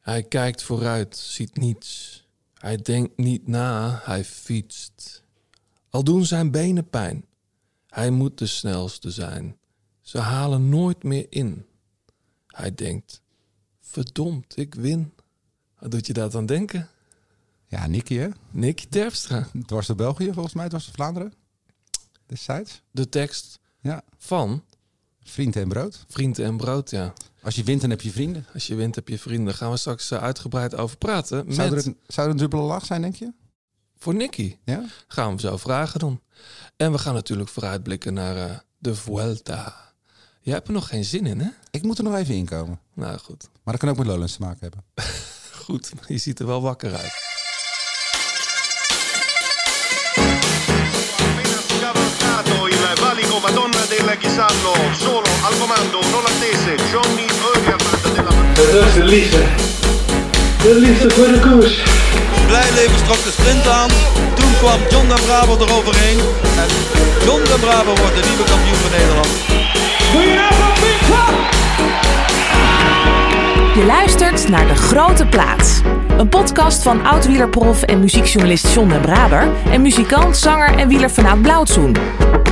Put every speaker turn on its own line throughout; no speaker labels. Hij kijkt vooruit, ziet niets. Hij denkt niet na, hij fietst. Al doen zijn benen pijn. Hij moet de snelste zijn. Ze halen nooit meer in. Hij denkt, verdomd, ik win. Wat doet je dat aan denken?
Ja, Nicky, hè?
Nicky Terpstra.
Het was de België volgens mij, het was de Vlaanderen. Destijds.
De tekst
Ja,
van
vrienden en brood.
Vrienden en Brood, ja.
Als je wint, dan heb je vrienden.
Als je wint heb je vrienden. Daar gaan we straks eh, uitgebreid over praten. Met,
Zou, er een, zou er een dubbele lach zijn, denk je?
Voor Nicky.
Ja?
Gaan we hem zo vragen dan. En we gaan natuurlijk vooruitblikken naar eh, de Vuelta. Jij hebt er nog geen zin in, hè?
Ik moet er nog even inkomen.
Nou goed.
Maar dat kan ook met Lowlands te maken hebben.
Goed, maar je ziet er wel wakker uit.
appena scavalcato il valico Madonna del Chisallo, solo al comando un olandese Johnny Ogerland della
Dat is de liefde. De liefde voor de koers.
Blijleven trok de sprint aan. Toen kwam John de Bravo eroverheen. En John de Bravo wordt de nieuwe kampioen van Nederland.
Je luistert naar De Grote Plaats. Een podcast van oud-wielerprof en muziekjournalist John den Braber... en muzikant, zanger en wieler vanuit Blauwtsoen.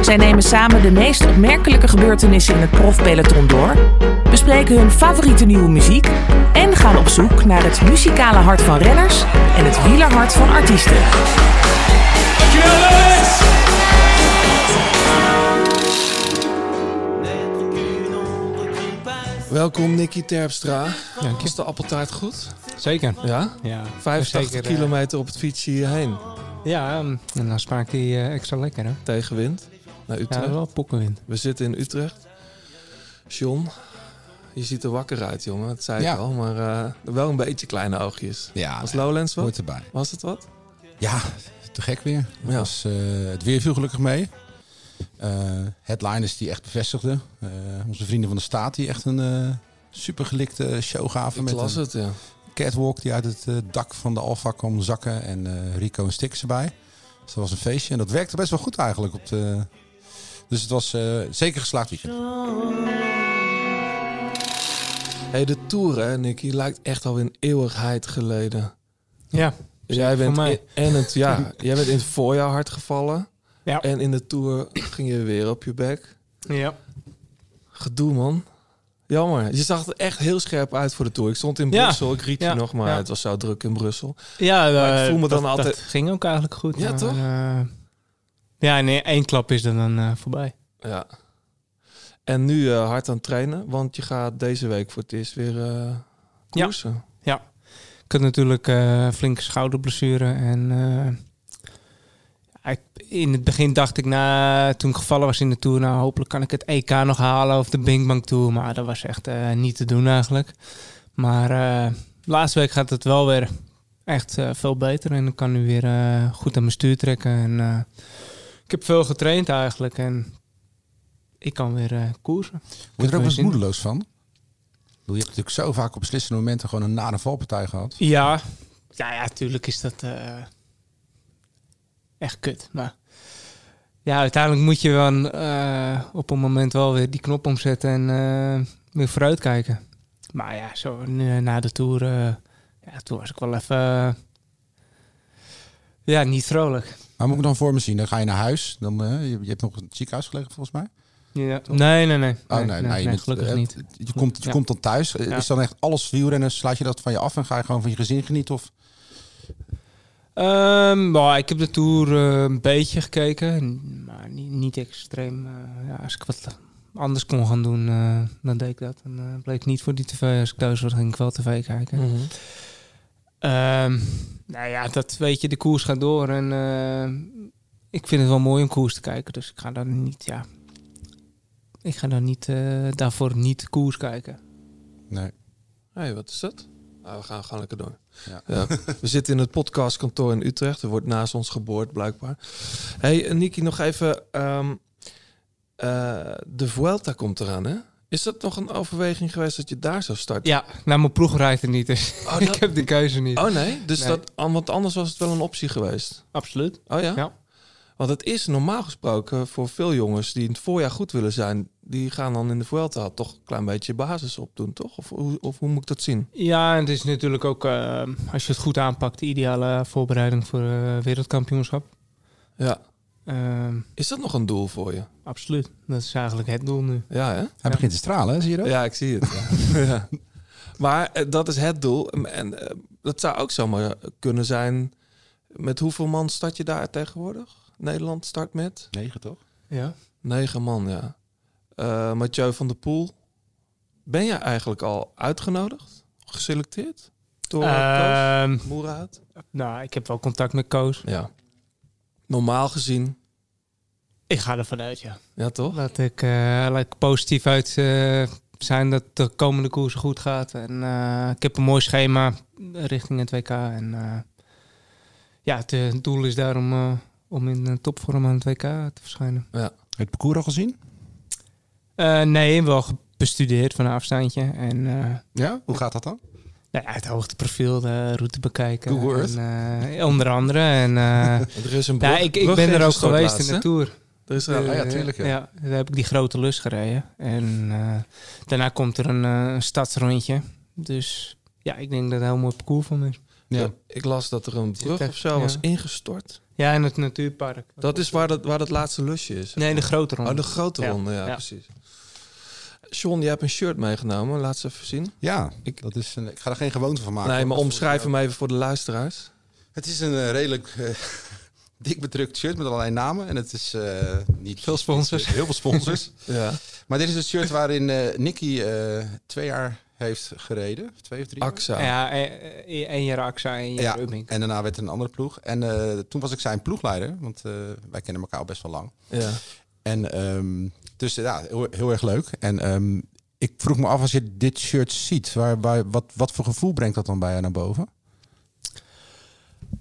Zij nemen samen de meest opmerkelijke gebeurtenissen in het profpeloton door... bespreken hun favoriete nieuwe muziek... en gaan op zoek naar het muzikale hart van renners... en het wielerhart van artiesten.
Welkom Nicky Terpstra. Is de appeltaart goed?
Zeker.
Ja?
Ja,
85
zeker, eh,
kilometer op het fietsje hierheen.
ja, ehm, en dan smaakt die eh, extra lekker, hè?
Tegenwind naar
Ja,
Utrecht.
wel pokkenwind.
We zitten in Utrecht. John, je ziet er wakker uit, jongen. Dat zei
Ja.
ik al, maar eh, wel een beetje kleine oogjes.
Ja,
Was
nee,
Lowlands wat?
hoort erbij.
Was het wat?
Ja, te gek weer.
Ja.
Was, eh, het weer viel gelukkig mee. Eh, headliners die echt bevestigden. Eh, onze vrienden van de staat die echt een eh super gelikte show gaven.
Ik
met
las
een
het, ja.
catwalk die uit het eh, dak van de Alfa kwam zakken. En eh, Rico en Stix erbij. Dus dat was een feestje. En dat werkte best wel goed eigenlijk. Op de... Dus het was eh, zeker geslaagd weekend.
hey, de Tour, hè, Nicky, lijkt echt al een eeuwigheid geleden.
Ja,
Jij bent,
mij.
in- en het, ja, jij bent in het voorjaar hard gevallen.
Ja.
En in de Tour ging je weer op je bek.
ja.
Gedoe, man. Jammer. Je zag er echt heel scherp uit voor de Tour. Ik stond in
Ja.
Brussel, ik riep je
Ja.
nog, maar
Ja.
het was zo druk in Brussel.
ja
Maar ik
eh,
voel me dan
dat,
altijd-
Dat ging ook eigenlijk goed.
Ja,
maar,
toch?
eh, ja, nee, één klap is er dan eh, voorbij.
Ja. En nu eh, hard aan het trainen, want je gaat deze week voor het eerst weer eh
Ja.
koersen.
Ik had natuurlijk eh flinke schouderblessure en... eh, ik- in het begin dacht ik, na, toen ik gevallen was in de Tour, nou hopelijk kan ik het EK nog halen of de Binkbank Tour. Maar dat was echt eh, niet te doen eigenlijk. Maar eh laatste week gaat het wel weer echt eh, veel beter. En ik kan nu weer eh, goed aan mijn stuur trekken. En, eh, ik heb veel getraind eigenlijk. En ik kan weer eh, koersen.
Word je er ook wel eens
Zin.
moedeloos van? Ik bedoel, Je hebt natuurlijk zo vaak op beslissende momenten gewoon een nare valpartij gehad.
Ja, ja, ja tuurlijk is dat eh, echt kut. Maar ja, uiteindelijk moet je wel eh, op een moment wel weer die knop omzetten en eh, weer vooruitkijken. Maar ja, zo nu, na de tour, eh, ja, toen was ik wel even eh, ja, niet vrolijk.
Maar moet ik dan voor me zien? Dan ga je naar huis. Dan, eh, je, je hebt nog in het ziekenhuis gelegen volgens mij.
Ja, nee, nee, nee.
Oh, nee, nee, je bent-
gelukkig
eh,
niet.
Je, komt, je
Ja.
komt dan thuis. Eh,
Ja.
Is dan echt alles wielrennen? Slaat je dat van je af en ga je gewoon van je gezin genieten? Of
Ehm, nou, ik heb de Tour eh, een beetje gekeken, n- maar niet, niet extreem. Eh, ja, als ik wat anders kon gaan doen, eh, dan deed ik dat. En eh, bleek niet voor die tv. Als ik thuis was, ging ik wel tv kijken.
Mm.
Ehm, nou ja, dat weet je, de koers gaat door. En eh, ik vind het wel mooi om koers te kijken. Dus ik ga dan niet, ja... Ik ga dan niet, eh, daarvoor niet koers kijken.
nee.
Hé, wat is dat? Ah, we gaan, gaan lekker door.
Ja.
Ja. We zitten in het podcastkantoor in Utrecht. Er wordt naast ons geboord, blijkbaar. hey, eh, Niki, nog even. ehm, eh, de Vuelta komt eraan, hè? Is dat nog een overweging geweest dat je daar zou starten?
Ja, nou, mijn ploeg rijdt er niet, dus
Oh,
ik
dat-
heb de keuze niet.
Oh nee, dus
Nee.
dat, an- want anders was het wel een optie geweest.
Absoluut.
Oh ja?
Ja.
Want het is normaal gesproken voor veel jongens die in het voorjaar goed willen zijn, die gaan dan in de Vuelta toch een klein beetje basis opdoen, toch? Of, hoe- of hoe moet ik dat zien?
Ja, en het is natuurlijk ook, eh, als je het goed aanpakt, de ideale voorbereiding voor eh, wereldkampioenschap.
Ja.
Ehm,
Is dat nog een doel voor je?
absoluut. Dat is eigenlijk het doel nu.
Ja, hè?
Hij begint te stralen, hè, zie je dat?
Ja, ik zie het. ja. ja. Maar eh, dat is het doel. En, eh, dat zou ook zomaar eh, kunnen zijn. Met hoeveel man start je daar tegenwoordig? Nederland start met?
Negen, toch?
Ja.
Negen man, ja. Eh Mathieu van der Poel. Ben jij eigenlijk al uitgenodigd? Geselecteerd? Door
Eh,
Koos Moerhout?
Ehm, nou, ik heb wel contact met Koos.
Ja. Normaal gezien.
Ik ga ervan uit, ja.
Ja, toch?
Laat ik, eh, laat ik positief uit eh, zijn dat de komende koers goed gaat. En eh, ik heb een mooi schema richting het WK. En eh, ja, het, eh, het doel is daarom eh, om in eh, topvorm aan het WK te verschijnen.
Het parcours al gezien?
Eh, nee, wel ge- bestudeerd van een afstandje. En eh
Ja? Hoe gaat dat dan?
nou ja, het hoogteprofiel, de route bekijken.
Google Earth.
En, eh, onder andere. En, eh,
Er is een
ja,
brug-
ik, ik
brug
ben er ook
ingestort
geweest
laatst,
in de
hè?
Tour.
Er is er-
Ah ja, tuurlijk, ja.
Eh, daar heb ik die grote lus gereden. En eh, daarna komt er een eh, stadsrondje. Dus ja, ik denk dat het een heel mooi parcours van is.
Ja, Ik las dat er een brug
echt-
of zo
ja.
was ingestort.
Ja, en het natuurpark.
Dat is waar dat, waar dat laatste lusje is.
Nee, de grote ronde.
Oh, de grote
Ja.
ronde, ja,
Ja.
precies. Sean, jij hebt een shirt meegenomen. Laat ze even zien.
Ja,
Ik-
dat is een, ik ga er geen gewoonte van maken.
nee,
hoor.
maar
Dat
omschrijf
voel ik
hem even voor de luisteraars.
ook. Het is een eh, redelijk eh, dik bedrukt shirt met allerlei namen. En het is eh, niet...
Veel sponsors.
Heel veel sponsors.
Ja.
maar dit is het shirt waarin eh, Nicky eh, twee jaar heeft gereden. Twee of drie? jaar?
AXA.
Ja, één één jaar AXA, één jaar
Ja,
Ubbing.
en daarna werd er een andere ploeg. En eh, toen was ik zijn ploegleider, want eh, wij kennen elkaar al best wel lang.
Ja.
En ehm, dus eh, ja, heel, heel erg leuk. En ehm, ik vroeg me af, als je dit shirt ziet, waar, waar, wat, wat voor gevoel brengt dat dan bij jou naar boven?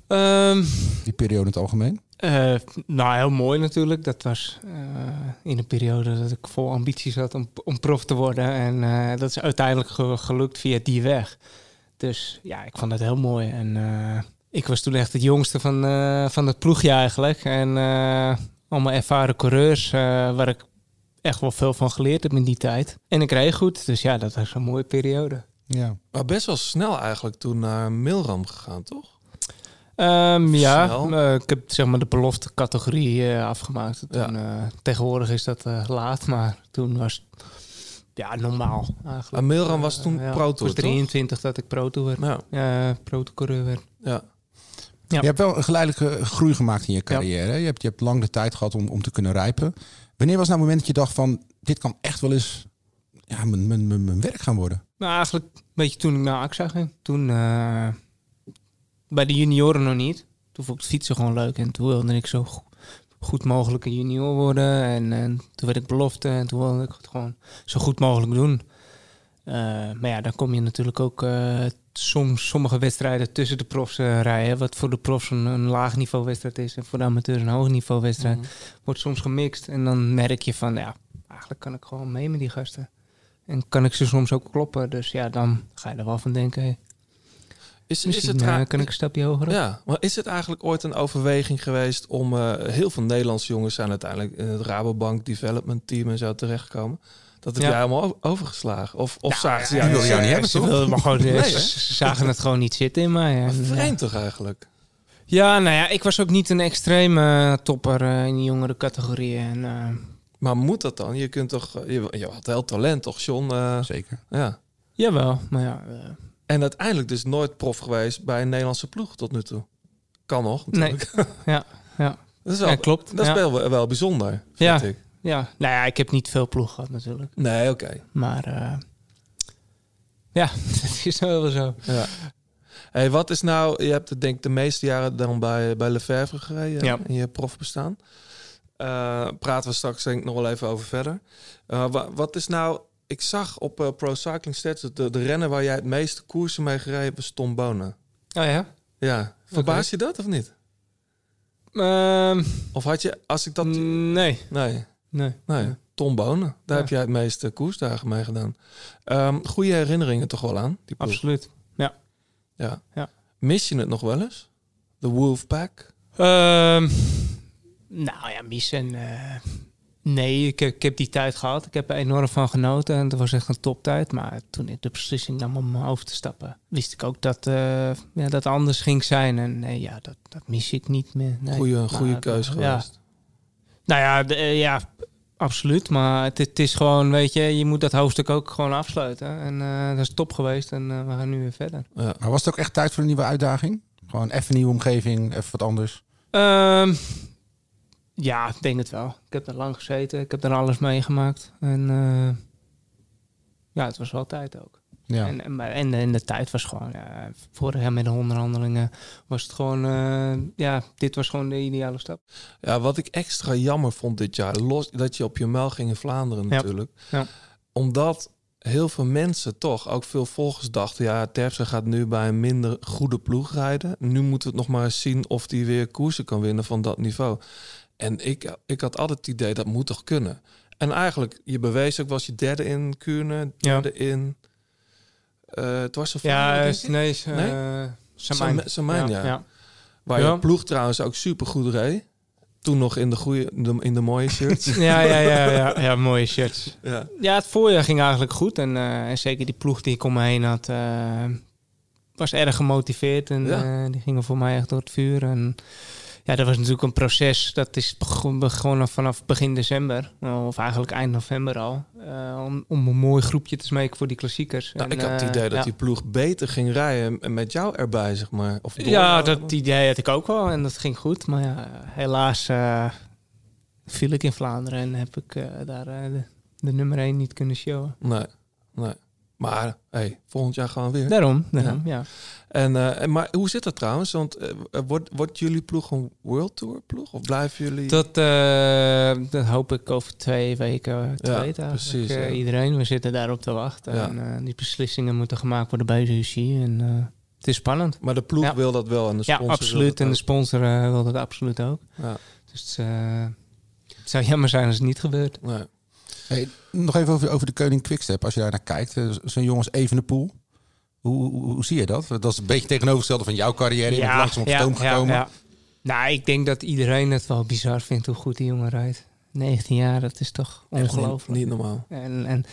Ehm,
Die periode in het algemeen?
eh, nou, heel mooi natuurlijk. Dat was eh, in een periode dat ik vol ambities had om, om prof te worden. En eh, dat is uiteindelijk ge- gelukt via die weg. Dus ja, ik vond dat heel mooi. En eh, ik was toen echt het jongste van, eh, van het ploegje eigenlijk. En eh allemaal ervaren coureurs eh, waar ik echt wel veel van geleerd heb in die tijd. En ik reed goed, dus ja, dat was een mooie periode.
Ja.
Maar best wel snel eigenlijk toen naar Milram gegaan, toch?
Ehm, ja,
Snel.
eh, ik heb zeg maar de belofte categorie eh, afgemaakt.
Ja.
Toen, eh, tegenwoordig is dat eh, laat, maar toen was het ja, normaal eigenlijk.
En Ah, Milram was toen
Eh, ja,
pro
ik was
tour, toch?
23 dat ik pro tour werd.
Nou,
Ja, pro tour werd.
ja.
Ja.
Je hebt wel een geleidelijke groei gemaakt in je carrière. hè? Je, hebt, je hebt lang de tijd gehad om, om te kunnen rijpen. Wanneer was nou het moment dat je dacht van, dit kan echt wel eens ja, mijn, mijn, mijn, mijn werk gaan worden?
Nou, eigenlijk een beetje toen ik naar AXA ging. Toen eh, bij de junioren nog niet. Toen vond ik het fietsen gewoon leuk. En toen wilde ik zo go- goed mogelijk een junior worden. En, en toen werd ik belofte. En toen wilde ik het gewoon zo goed mogelijk doen. Eh, maar ja, dan kom je natuurlijk ook eh, soms sommige wedstrijden tussen de profs eh, rijden. Wat voor de profs een, een laag niveau wedstrijd is. En voor de amateurs een hoog niveau wedstrijd. Wordt soms gemixt. En dan merk je van, ja, eigenlijk kan ik gewoon mee met die gasten. En kan ik ze soms ook kloppen. Dus ja, dan ga je er wel van denken. hey,
Is, is
misschien
het
eh,
raar-
kan ik een stapje hoger op.
Ja, maar is het eigenlijk ooit een overweging geweest om eh, heel veel Nederlandse jongens zijn uiteindelijk in het Rabobank Development Team en zo terechtkomen? Dat heb
Ja. Nou,
jij helemaal o- overgeslagen? Of, of zagen ze
ja,
jou
die wil jou niet hebben,
Ze
toch?
wilden me gewoon,
Nee, hè?
ze zagen het gewoon niet zitten in mij. En,
Vreemd toch eigenlijk?
eh, ja, nou ja, ik was ook niet een extreme eh, topper eh, in de jongere categorieën. En, eh,
Maar moet dat dan? Je kunt toch, eh, je, je had heel talent toch, John? Eh,
Zeker.
ja.
jawel, maar ja, eh,
En uiteindelijk dus nooit prof geweest bij een Nederlandse ploeg tot nu toe. Kan nog, natuurlijk.
Ja, ja.
Dat is wel,
Ja, klopt.
Dat is
Ja.
wel, wel bijzonder, vind
Ja.
ik.
ja. Nou ja, ik heb niet veel ploeg gehad natuurlijk.
Nee, oké.
Maar eh, ja, dat is wel zo. Oh
Ja. Hey, wat is nou, je hebt het denk ik de meeste jaren dan bij, bij Lefebvre gereden
Ja.
in je profbestaan. Eh praten we straks denk ik nog wel even over verder. Eh, wa- wat is nou, ik zag op eh, Pro Cycling Stats dat de, de renner waar jij het meeste koersen mee gereden hebt was Tom Bonen.
Oh ja?
Ja, verbaas je dat of niet?
Ehm,
Of had je, als ik dat...
Mm. nee,
Nee,
nee.
nee. Tom Bonen, daar
Ja.
heb jij het meeste koersdagen mee gedaan. Ehm goede herinneringen toch wel aan? Die ploeg?
Absoluut.
Ja.
Ja.
Mis je het nog wel eens? De Wolfpack?
Ehm, Nou ja, missen. eh, nee, ik heb, ik heb die tijd gehad. Ik heb er enorm van genoten. En het was echt een toptijd. Maar toen ik de beslissing nam om over te stappen, wist ik ook dat eh, ja, dat anders ging zijn. En nee, ja, dat, dat mis ik niet meer. Nee.
Goeie, goede
Maar,
keus
eh, ja.
geweest.
Nou ja, de- eh, ja absoluut. Maar het, het is gewoon, weet je, je moet dat hoofdstuk ook gewoon afsluiten. En eh, dat is top geweest. En eh, we gaan nu weer verder.
Ja.
Maar was het ook echt tijd voor een nieuwe uitdaging? Gewoon even een nieuwe omgeving, even wat anders.
Ehm, ja, ik denk het wel. Ik heb er lang gezeten. Ik heb er alles meegemaakt. En eh, ja, het was wel tijd ook.
Ja.
En, en, maar- en, en de tijd was gewoon... Ja, vorig jaar met de onderhandelingen was het gewoon... eh, ja, dit was gewoon de ideale stap.
Ja, wat ik extra jammer vond dit jaar, los dat je op je muil ging in Vlaanderen
Ja.
natuurlijk.
Ja.
Omdat heel veel mensen toch, ook veel volgers dachten, ja, Terpsen gaat nu bij een minder goede ploeg rijden. Nu moeten we het nog maar eens zien of hij weer koersen kan winnen van dat niveau. En ik, ik had altijd het idee, dat moet toch kunnen. En eigenlijk, je bewees ook, was je derde in Kuurne,
Ja.
derde in... eh het was een
Ja,
Vlaanderen,
is- nee, is, eh, Samijn.
Sam- Samijn, ja.
ja.
waar
ja.
je ploeg trouwens ook super goed reed. Toen nog in de, goede, in de mooie shirts.
Ja, ja, ja, ja, ja, mooie shirts.
ja.
Ja, het voorjaar ging eigenlijk goed. En, eh, en zeker die ploeg die ik om me heen had, eh, was erg gemotiveerd. En
Ja.
eh, die gingen voor mij echt door het vuur. En ja, dat was natuurlijk een proces. Dat is begon- begonnen vanaf begin december. Of eigenlijk eind november al. eh, om, om een mooi groepje te smeken voor die klassiekers.
Nou,
En,
ik had het
eh,
idee dat
ja.
die ploeg beter ging rijden en met jou erbij, zeg maar. Of door
Ja,
jou.
dat idee had ik ook wel. En dat ging goed. Maar ja, helaas eh, viel ik in Vlaanderen. En heb ik eh, daar eh, de, de nummer 1 niet kunnen showen.
Nee, nee. Maar, hey, volgend jaar gewoon weer.
Daarom, daarom ja.
En, eh, en- maar hoe zit dat trouwens? Want eh, wordt, wordt jullie ploeg een World Tour ploeg? Of blijven jullie...
Dat, eh, dat hoop ik over twee weken te
Ja,
weten. Precies,
precies, ja.
Iedereen, we zitten daarop te wachten.
Ja.
En, eh, die beslissingen moeten gemaakt worden bij de UC. En eh, het is spannend.
Maar de ploeg
Ja.
wil dat wel en de
Ja,
sponsor wil
absoluut.
dat
En de
ook.
sponsor eh, wil dat absoluut ook.
Ja.
Dus eh, het zou jammer zijn als het niet gebeurt.
Nee.
Hey, nog even over, over de Koning Quickstep. Als je daar naar kijkt, eh, zo'n jongens Evenepoel. Hoe, hoe, hoe zie je dat? Dat is een beetje tegenovergestelde van jouw carrière. Je bent langzaam op stoom gekomen.
ja. Nou, ik denk dat iedereen het wel bizar vindt hoe goed die jongen rijdt. 19 jaar, dat is toch
Echt niet-
ongelooflijk.
Niet normaal.
En, en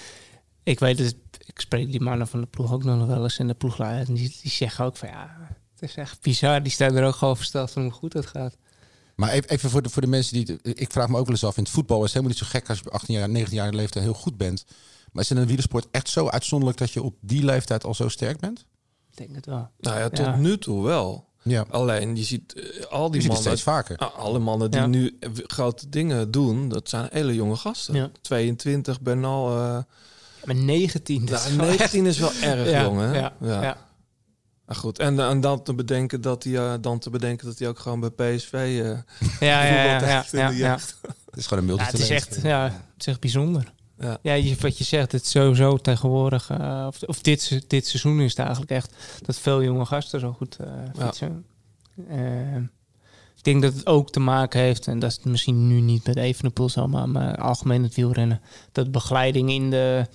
ik weet het, ik spreek die mannen van de ploeg ook nog wel eens. En de ploegleider, die, die zeggen ook van ja, het is echt bizar. Die staan er ook gewoon versteld van hoe goed het gaat.
Maar even, even voor, de, voor de mensen die... het- Ik vraag me ook wel eens af, in het voetbal is het helemaal niet zo gek... als je op 18 jaar, 19 jaar leeftijd heel goed bent. Maar is het in de wielersport echt zo uitzonderlijk... dat je op die leeftijd al zo sterk bent?
Ik denk het wel.
Nou ja, tot
Ja.
nu toe wel.
Ja.
Alleen, je ziet eh, al
Die
die
ziet
mannen...
het steeds vaker.
Nou, alle mannen die
Ja.
nu eh, grote dingen doen, dat zijn hele jonge gasten.
Ja.
22, Bernal... eh,
Maar 19, dat
Nou,
is wel echt-
19 is wel erg
Ja,
jong, hè?
Ja, ja.
Ah, goed. En, en dan, te bedenken dat hij, eh, dan te bedenken dat hij ook gewoon bij PSV... eh,
Ah, Ja, ja, ja,
Voetbal
ja,
echt in
ja,
de
ja.
jeugd.
Het is gewoon een
Ja,
multi
het is echt, ja, het is echt bijzonder.
Ja.
Ja, je- wat je zegt, het is sowieso tegenwoordig, eh, of, of dit, se- dit seizoen is het eigenlijk echt dat veel jonge gasten zo goed eh,
Ja.
fietsen. Eh, ik denk dat het ook te maken heeft, en dat is misschien nu niet met Evenepoel zo, maar, maar algemeen het wielrennen, dat begeleiding in de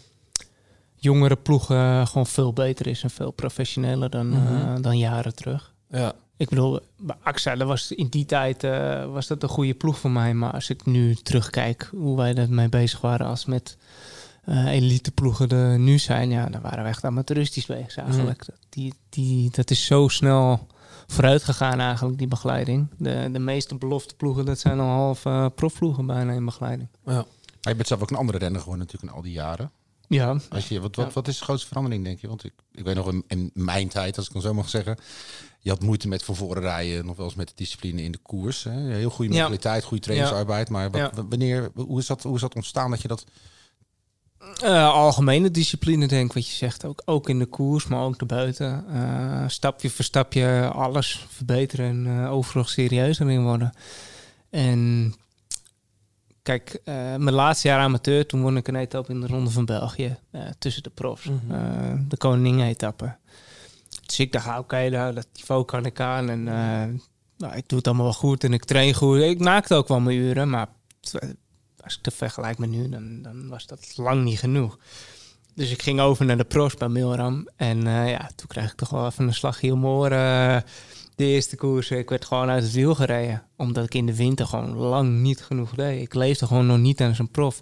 jongere ploegen gewoon veel beter is en veel professioneler dan,
Mhm.
eh, dan jaren terug.
ja.
Ik bedoel, bij AXA, dat was in die tijd eh, was dat een goede ploeg voor mij. Maar als ik nu terugkijk hoe wij daarmee bezig waren als met eh elite ploegen er nu zijn, ja, dan waren we echt amateuristisch bezig eigenlijk. Dat, die, die, dat is zo snel vooruit gegaan eigenlijk, die begeleiding. De, de meeste belofte ploegen, dat zijn al half eh, profploegen bijna in begeleiding.
Je bent zelf ook een andere renner geworden natuurlijk in al die jaren.
Ja,
Als je, wat, wat, wat is de grootste verandering, denk je? Want ik, ik weet nog in, in mijn tijd, als ik het zo mag zeggen. Je had moeite met van voren rijden, nog wel eens met de discipline in de koers. Hè? Heel goede
Ja.
mentaliteit, goede trainingsarbeid. Maar wat,
Ja.
w- wanneer, hoe, is dat, hoe is dat ontstaan dat je dat...
Eh, algemene discipline, denk ik, wat je zegt. Ook, ook in de koers, maar ook daarbuiten. Eh, stapje voor stapje alles verbeteren en eh, overal serieuzer in worden. En kijk, eh, mijn laatste jaar amateur, toen won ik een etappe in de Ronde van België. eh, tussen de profs.
Mhm.
Eh, de Koningen-etappe. Dus ik dacht, ah, oké, nou, dat niveau kan ik aan. En eh, nou, ik doe het allemaal wel goed en ik train goed. Ik maakte ook wel mijn uren, maar eh, als ik te vergelijk met nu, dan, dan was dat lang niet genoeg. Dus ik ging over naar de pros bij Milram. En eh, ja, toen kreeg ik toch wel even een slag hier om mijn oren, eh, de eerste koers, ik werd gewoon uit het wiel gereden. Omdat ik in de winter gewoon lang niet genoeg deed. Ik leefde gewoon nog niet aan zo'n prof.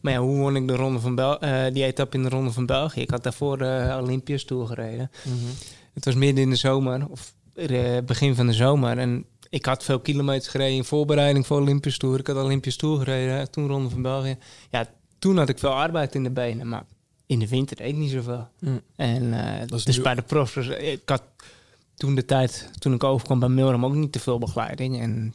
Maar ja, hoe won ik de ronde van Bel eh, die etappe in de Ronde van België? Ik had daarvoor de Olympiërs Tour gereden. Het was midden in de zomer, of eh, begin van de zomer. En ik had veel kilometers gereden in voorbereiding voor Olympisch Tour. Ik had Olympisch Tour gereden, toen Ronde van België. Ja, toen had ik veel arbeid in de benen, maar in de winter deed ik niet zoveel.
Mm.
En eh,
Dat is
dus
nu-
bij de profs, was- ik had toen de tijd, toen ik overkwam bij Milram, ook niet te veel begeleiding. En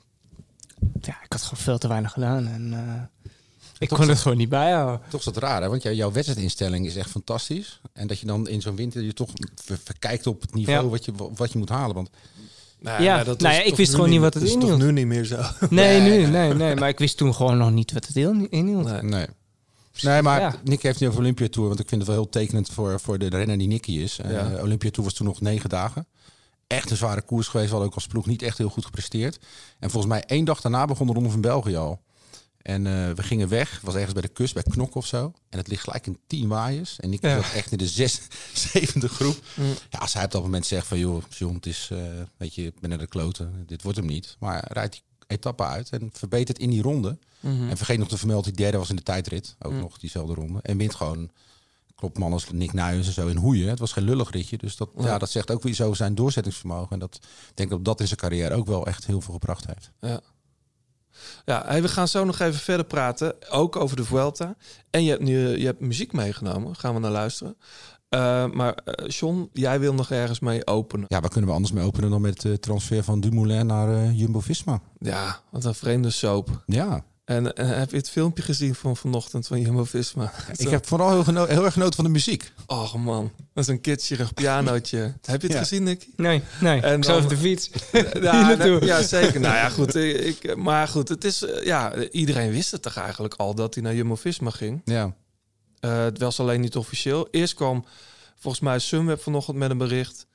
ja, ik had gewoon veel te weinig gedaan. En eh, ik
Toch
kon
zo-
het gewoon niet bijhouden.
Toch is dat raar, hè? want jij- jouw wedstrijdinstelling is echt fantastisch. En dat je dan in zo'n winter je toch ver- verkijkt op het niveau
Ja.
wat, je, wat je moet halen. Want
Nou
Ja,
dat
nou
is
ja, ik
toch
wist
nu
gewoon niet wat het
Dat is toch
inhield.
nu niet meer zo.
Nee, nu, nee, nee. Maar ik wist toen gewoon nog niet wat het heel inhield.
Nee.
Nee. Nee, maar
Ja.
Nicky heeft nu over Olympia Tour. Want ik vind het wel heel tekenend voor, voor de renner die Nicky is. Eh
Ja.
Olympia Tour was toen nog negen dagen. Echt een zware koers geweest. We hadden ook als ploeg niet echt heel goed gepresteerd. En volgens mij één dag daarna begon de Ronde van België al. En eh, we gingen weg. was ergens bij de kust, bij Knok of zo. En het ligt gelijk in tien waaiers. En Nicky
Ja.
zat echt in de zes, zevende groep. Ja, als hij op dat moment zegt van... joh, John, het is, eh, weet je, ik ben naar de kloten. Dit wordt hem niet. Maar rijdt die etappe uit en verbetert in die ronde. En vergeet nog te vermelden, die derde was in de tijdrit. Ook nog diezelfde ronde. En wint gewoon, klopt man als Nick Nuyens en zo in hoeien. Het was geen lullig ritje. Dus dat, ja. dat zegt ook weer iets over zijn doorzettingsvermogen. En dat, ik denk dat dat in zijn carrière ook wel echt heel veel gebracht heeft.
Ja. Ja, hey, we gaan zo nog even verder praten. Ook over de Vuelta. En je hebt nu je hebt muziek meegenomen. Gaan we naar luisteren. Eh, maar eh, John, jij wil nog ergens mee openen.
Ja, waar kunnen we anders mee openen dan met de transfer van Dumoulin naar eh, Jumbo-Visma?
Ja, wat een vreemde soap.
Ja,
En, en heb je het filmpje gezien van vanochtend van Jumbo-Visma?
ik heb vooral heel, geno- heel erg genoten van de muziek.
Och man, dat is een kitscherig pianootje. heb je het
Ja.
gezien, Nicky?
Nee, nee.
En
ik zat
dan-
op de fiets.
Ja,
naartoe.
nou, ja, zeker. Nou ja, goed. eh, Ik, maar goed, het is, eh, ja, iedereen wist het toch eigenlijk al dat hij naar Jumbo-Visma ging.
Ja,
Eh, het was alleen niet officieel. Eerst kwam volgens mij Sunweb vanochtend met een bericht.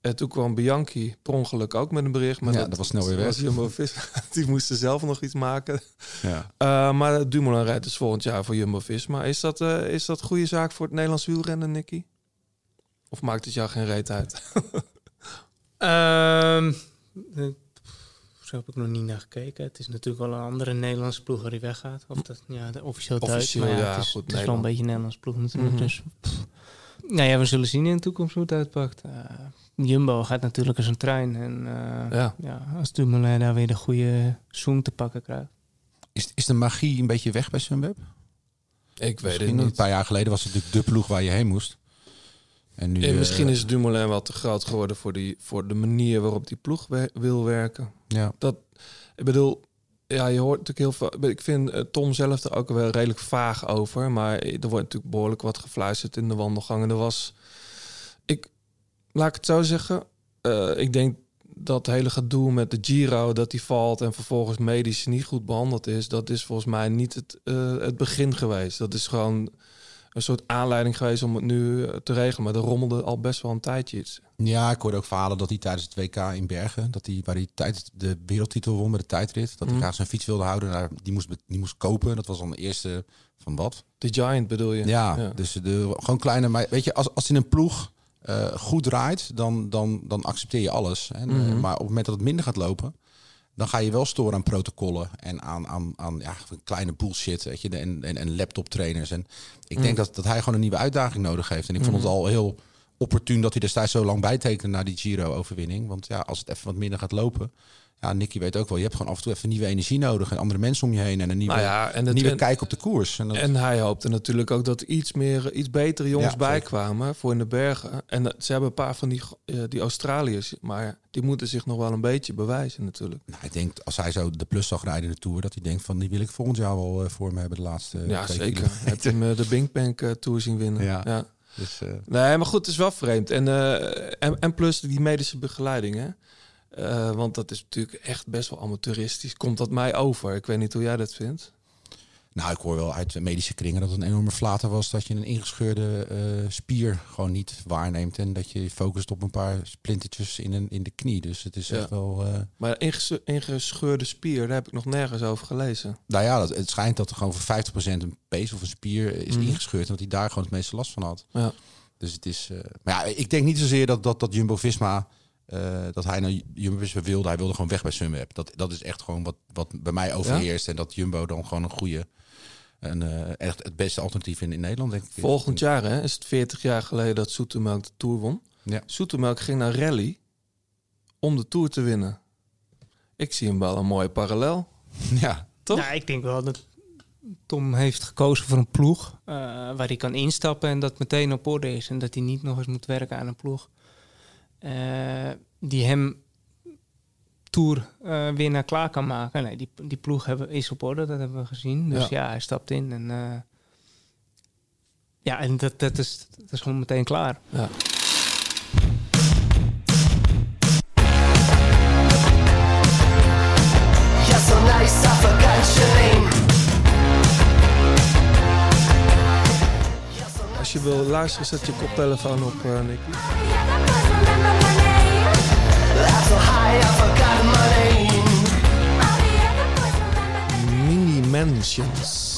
En toen kwam Bianchi per ongeluk ook met een bericht. Maar
Ja, dat was snel weer weg.
was Jumbo-Visma. Die moesten zelf nog iets maken.
ja.
Eh, maar Dumoulin rijdt dus volgend jaar voor Jumbo-Visma. Is dat, eh, is dat goede zaak voor het Nederlands wielrennen, Nicky? Of maakt het jou geen reet uit?
Ehm, eh, zo heb ik nog niet naar gekeken. Het is natuurlijk wel een andere Nederlandse ploeg die weggaat. Of dat, ja, de officieel Duits.
Officieel,
maar
ja,
het is,
goed,
het is wel een
Nederland.
beetje een Nederlandse ploeg natuurlijk.
Mhm.
Dus, pff. nou ja, we zullen zien in de toekomst hoe het uitpakt. Eh, Jumbo gaat natuurlijk als een trein. En eh,
Ja.
ja. als Dumoulin daar weer de goede zoom te pakken krijgt.
Is, is de magie een beetje weg bij Sunweb?
Ik weet
Misschien Een paar jaar geleden was het natuurlijk de ploeg waar je heen moest. En nu,
En
eh,
misschien is Dumoulin wel te groot geworden voor, die, voor de manier waarop die ploeg we- wil werken.
ja.
Ik bedoel, ja, je hoort natuurlijk heel veel. Ik vind eh, Tom zelf er ook wel redelijk vaag over. Maar er wordt natuurlijk behoorlijk wat gefluisterd in de wandelgang. En er was. Ik, laat ik het zo zeggen. eh, ik denk dat hele gedoe met de Giro, dat die valt en vervolgens medisch niet goed behandeld is, dat is volgens mij niet het, eh, het begin geweest. Dat is gewoon een soort aanleiding geweest om het nu eh, te regelen. Maar er rommelde al best wel een tijdje iets.
Ja, ik hoorde ook verhalen dat hij tijdens het WK in Bergen, dat hij waar hij tijd, de wereldtitel won met de tijdrit, dat hij
Mm.
graag zijn fiets wilde houden, daar, die, moest, be- die moest kopen. Dat was dan de eerste van wat.
De Giant bedoel je?
Ja, dus de, gewoon kleine. Maar weet je, als, als in een ploeg eh, goed draait, dan, dan, dan accepteer je alles. Hè. Eh,
Mhm.
Maar op het moment dat het minder gaat lopen, dan ga je wel storen aan protocollen en aan, aan, aan ja, kleine bullshit. Weet je, en, en, en laptop trainers. En ik denk
Mhm.
dat, dat hij gewoon een nieuwe uitdaging nodig heeft. En ik vond het al heel opportun dat hij destijds zo lang bijtekende naar die Giro-overwinning. Want ja, als het even wat minder gaat lopen. Ja, Nicky weet ook wel, je hebt gewoon af en toe even nieuwe energie nodig en andere mensen om je heen en een nieuwe,
Nou ja, en het-
nieuwe
en-
kijk op de koers. En dat-
En hij hoopte natuurlijk ook dat iets, meer, iets betere jongens
Ja, zeker.
bijkwamen voor in de bergen. En dat- ze hebben een paar van die, eh, die Australiërs, maar die moeten zich nog wel een beetje bewijzen natuurlijk.
Nou, ik denk als hij zo de plus zag rijden in de Tour, dat hij denkt van die wil ik volgend jaar wel eh, voor me hebben de laatste eh,
ja,
twee
zeker.
kilometer.
Heb je hem eh, de Bing Bang eh, Tour zien winnen.
Ja. Dus, eh,
Nee, maar goed, het is wel vreemd. En, eh, en, en plus die medische begeleiding, hè. Eh, want dat is natuurlijk echt best wel amateuristisch. Komt dat mij over? Ik weet niet hoe jij dat vindt.
nou, ik hoor wel uit de medische kringen dat het een enorme flater was dat je een ingescheurde eh, spier gewoon niet waarneemt en dat je je focust op een paar splintertjes in, een, in de knie. Dus het is
Ja.
echt wel. eh,
Maar inges- ingescheurde spier, daar heb ik nog nergens over gelezen.
nou ja, dat, het schijnt dat er gewoon voor 50% een pees of een spier is
Mhm.
ingescheurd en dat hij daar gewoon het meeste last van had.
Ja.
Dus het is. eh, maar ja, ik denk niet zozeer dat, dat, dat Jumbo Visma eh, dat hij naar Ju- Jumbo Visma wilde. Hij wilde gewoon weg bij Sunweb. Dat, dat is echt gewoon wat, wat bij mij overheerst. En dat Jumbo dan gewoon een goede... En, echt het beste alternatief in, in Nederland, denk ik.
Volgend jaar hè, is het 40 jaar geleden dat Soetemelk de Tour won.
Ja.
Soetemelk ging naar rally om de Tour te winnen. Ik zie hem wel een mooie parallel.
Ja,
Toch?
Nou, ik denk wel dat Tom heeft gekozen voor een ploeg eh, waar hij kan instappen en dat meteen op orde is. En dat hij niet nog eens moet werken aan een ploeg eh, die hem tour eh, winnaar klaar kan maken. Nee, die, die ploeg hebben, is op orde, dat hebben we gezien. Dus ja, hij stapt in en... eh, ja, en dat, dat, is, dat is gewoon meteen klaar.
Ja.
You're so nice, I forgot your name.
Als je wil luisteren, zet je koptelefoon op, eh, Nicky.
That's so high, I forgot my name.
Mini Mansions.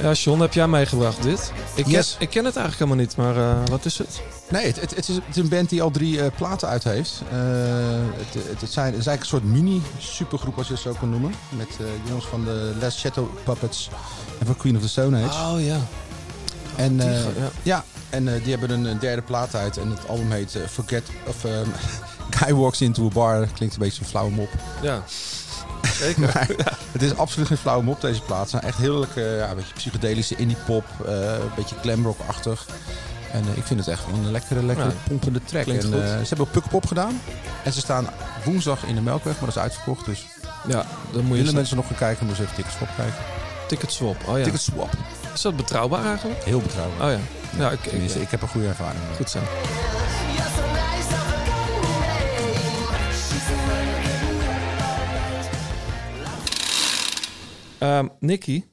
Ja, John, heb jij meegebracht dit? Ik,
Yes.
ken, ik ken het eigenlijk helemaal niet, maar eh, wat is het?
Nee, het, het, het is, het is een band die al drie eh, platen uit heeft. Eh, het, het, het, zijn, het is eigenlijk een soort mini-supergroep, als je het zo kan noemen. Met eh, jongens van de Les Shadow Puppets en van Queen of the Stone Age.
Oh ja.
en, eh,
die ga- ja.
ja. en eh, die hebben een, eh, derde plaat uit. En het album heet eh, Forget... Of, ehm, Guy Walks Into a Bar. Klinkt een beetje een flauwe mop.
Ja.
Maar het is absoluut geen flauwe mop deze plaats. Het zijn echt heerlijke, ja, een beetje psychedelische indie pop, eh, een beetje glamrock-achtig. En eh, ik vind het echt wel een lekkere, lekkere
Ja,
pompende track. En,
klinkt goed.
eh, ze hebben ook Pukkelpop gedaan. En ze staan woensdag in de Melkweg, maar dat is uitverkocht. Dus
Ja, dan moet je
willen
eens
mensen nog gaan kijken, moeten ze even ticketswap kijken.
naar ticketswap. Oh ja.
Ticketswap.
Is dat betrouwbaar eigenlijk?
Heel betrouwbaar.
Oh ja. Ja, ik, ik,
Tenminste, ik heb een goede ervaring. mee.
goed zo.
You're so nice, I forgot your name. She
Ehm, Nicky,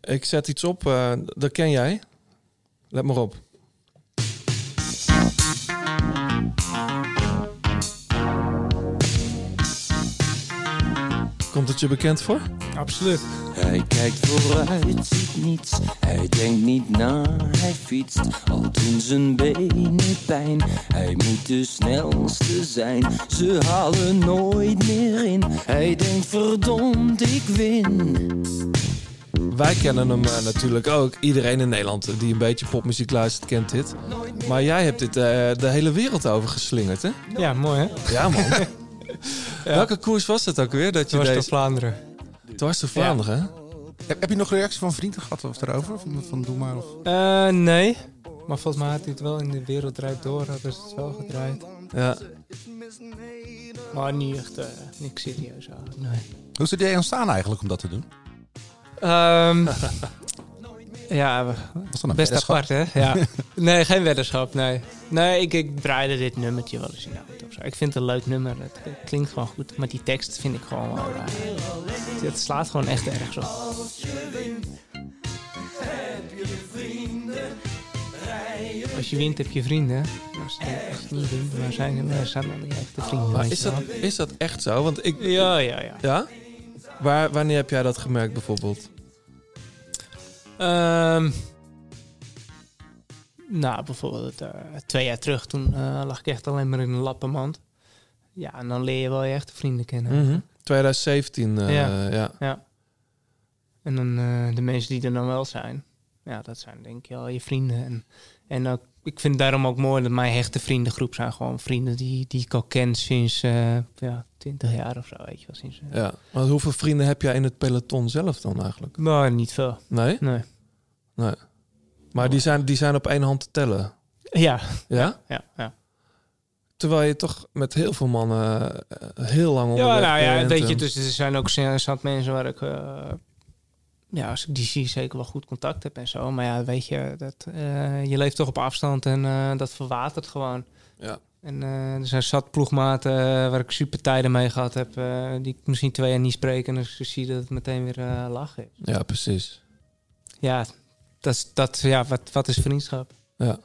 ik zet iets op, eh, dat ken jij. Let maar op. Komt het je bekend voor?
Absoluut.
Hij kijkt vooruit, ziet niets. Hij denkt niet na, hij fietst. Al doen zijn benen pijn. Hij moet de snelste zijn. Ze halen nooit meer in. Hij denkt verdomd, ik win.
Wij kennen hem eh, natuurlijk ook. Iedereen in Nederland eh, die een beetje popmuziek luistert, kent dit. Maar jij hebt dit eh, de hele wereld over geslingerd, hè?
Ja, mooi hè?
Ja, man. Welke koers was het ook weer? Dat je
Dwars door
deze...
Vlaanderen.
Dwars door Vlaanderen, hè?
Heb, heb je nog reacties van vrienden gehad of daarover? Van, van Doe maar of...
Eh, nee. Maar volgens mij had hij het wel in de wereld draait door. Hadden ze het wel gedraaid.
Ja.
Maar niet echt eh, niks serieus aan. Nee.
Hoe is het idee ontstaan eigenlijk om dat te doen?
Ehm, ja, we-
Was dat een
best
weddenschap?
apart hè? Ja. nee, geen weddenschap. Nee, nee ik, ik draaide dit nummertje wel eens in de auto. of zo. Ik vind het een leuk nummer. Het, het klinkt gewoon goed. Maar die tekst vind ik gewoon wel... eh, het slaat gewoon echt ergens op. Als je wint heb je vrienden. Als je echt niet wint, waar zijn er- waar zijn dan die echte vrienden?
Maar
weet
Oh, is
je
dat,
wel?
is dat echt zo? Want ik...
Ja, ja, ja.
Ja? Waar, wanneer heb jij dat gemerkt bijvoorbeeld?
Ehm, nou, bijvoorbeeld eh, twee jaar terug, toen eh, lag ik echt alleen maar in een lappenmand. Ja, en dan leer je wel je echte vrienden kennen.
Mm. 2017, eh, ja.
Mhm. Ja. Ja. En dan eh, de mensen die er dan wel zijn. Ja, dat zijn denk ik wel je vrienden. En, en ook- ik vind het daarom ook mooi dat mijn hechte vriendengroep zijn gewoon vrienden die, die ik al ken sinds eh ja, 20 jaar of zo, weet je wel. Sinds, eh,
Ja. Maar hoeveel vrienden heb jij in het peloton zelf dan eigenlijk?
Maar nou, niet veel,
Nee?
nee.
Maar die zijn, die zijn op één hand te tellen.
Ja,
Ja?
ja, ja.
Terwijl je toch met heel veel mannen eh, heel lang onderweg
Ja, nou ja,
bent
weet je,
eh, en-
dus er zijn ook z- zat mensen waar ik, eh, ja, als ik die zie, zeker wel goed contact heb en zo. Maar ja, weet je, dat, eh, je leeft toch op afstand en eh, dat verwatert gewoon.
Ja.
En eh, er zijn zat ploegmaten eh, waar ik super tijden mee gehad heb, eh, die ik misschien twee jaar niet spreek en dan zie je dat het meteen weer eh, lachen is.
Ja, precies.
Ja, dat, is- dat, ja wat, wat is vriendschap?
Ja.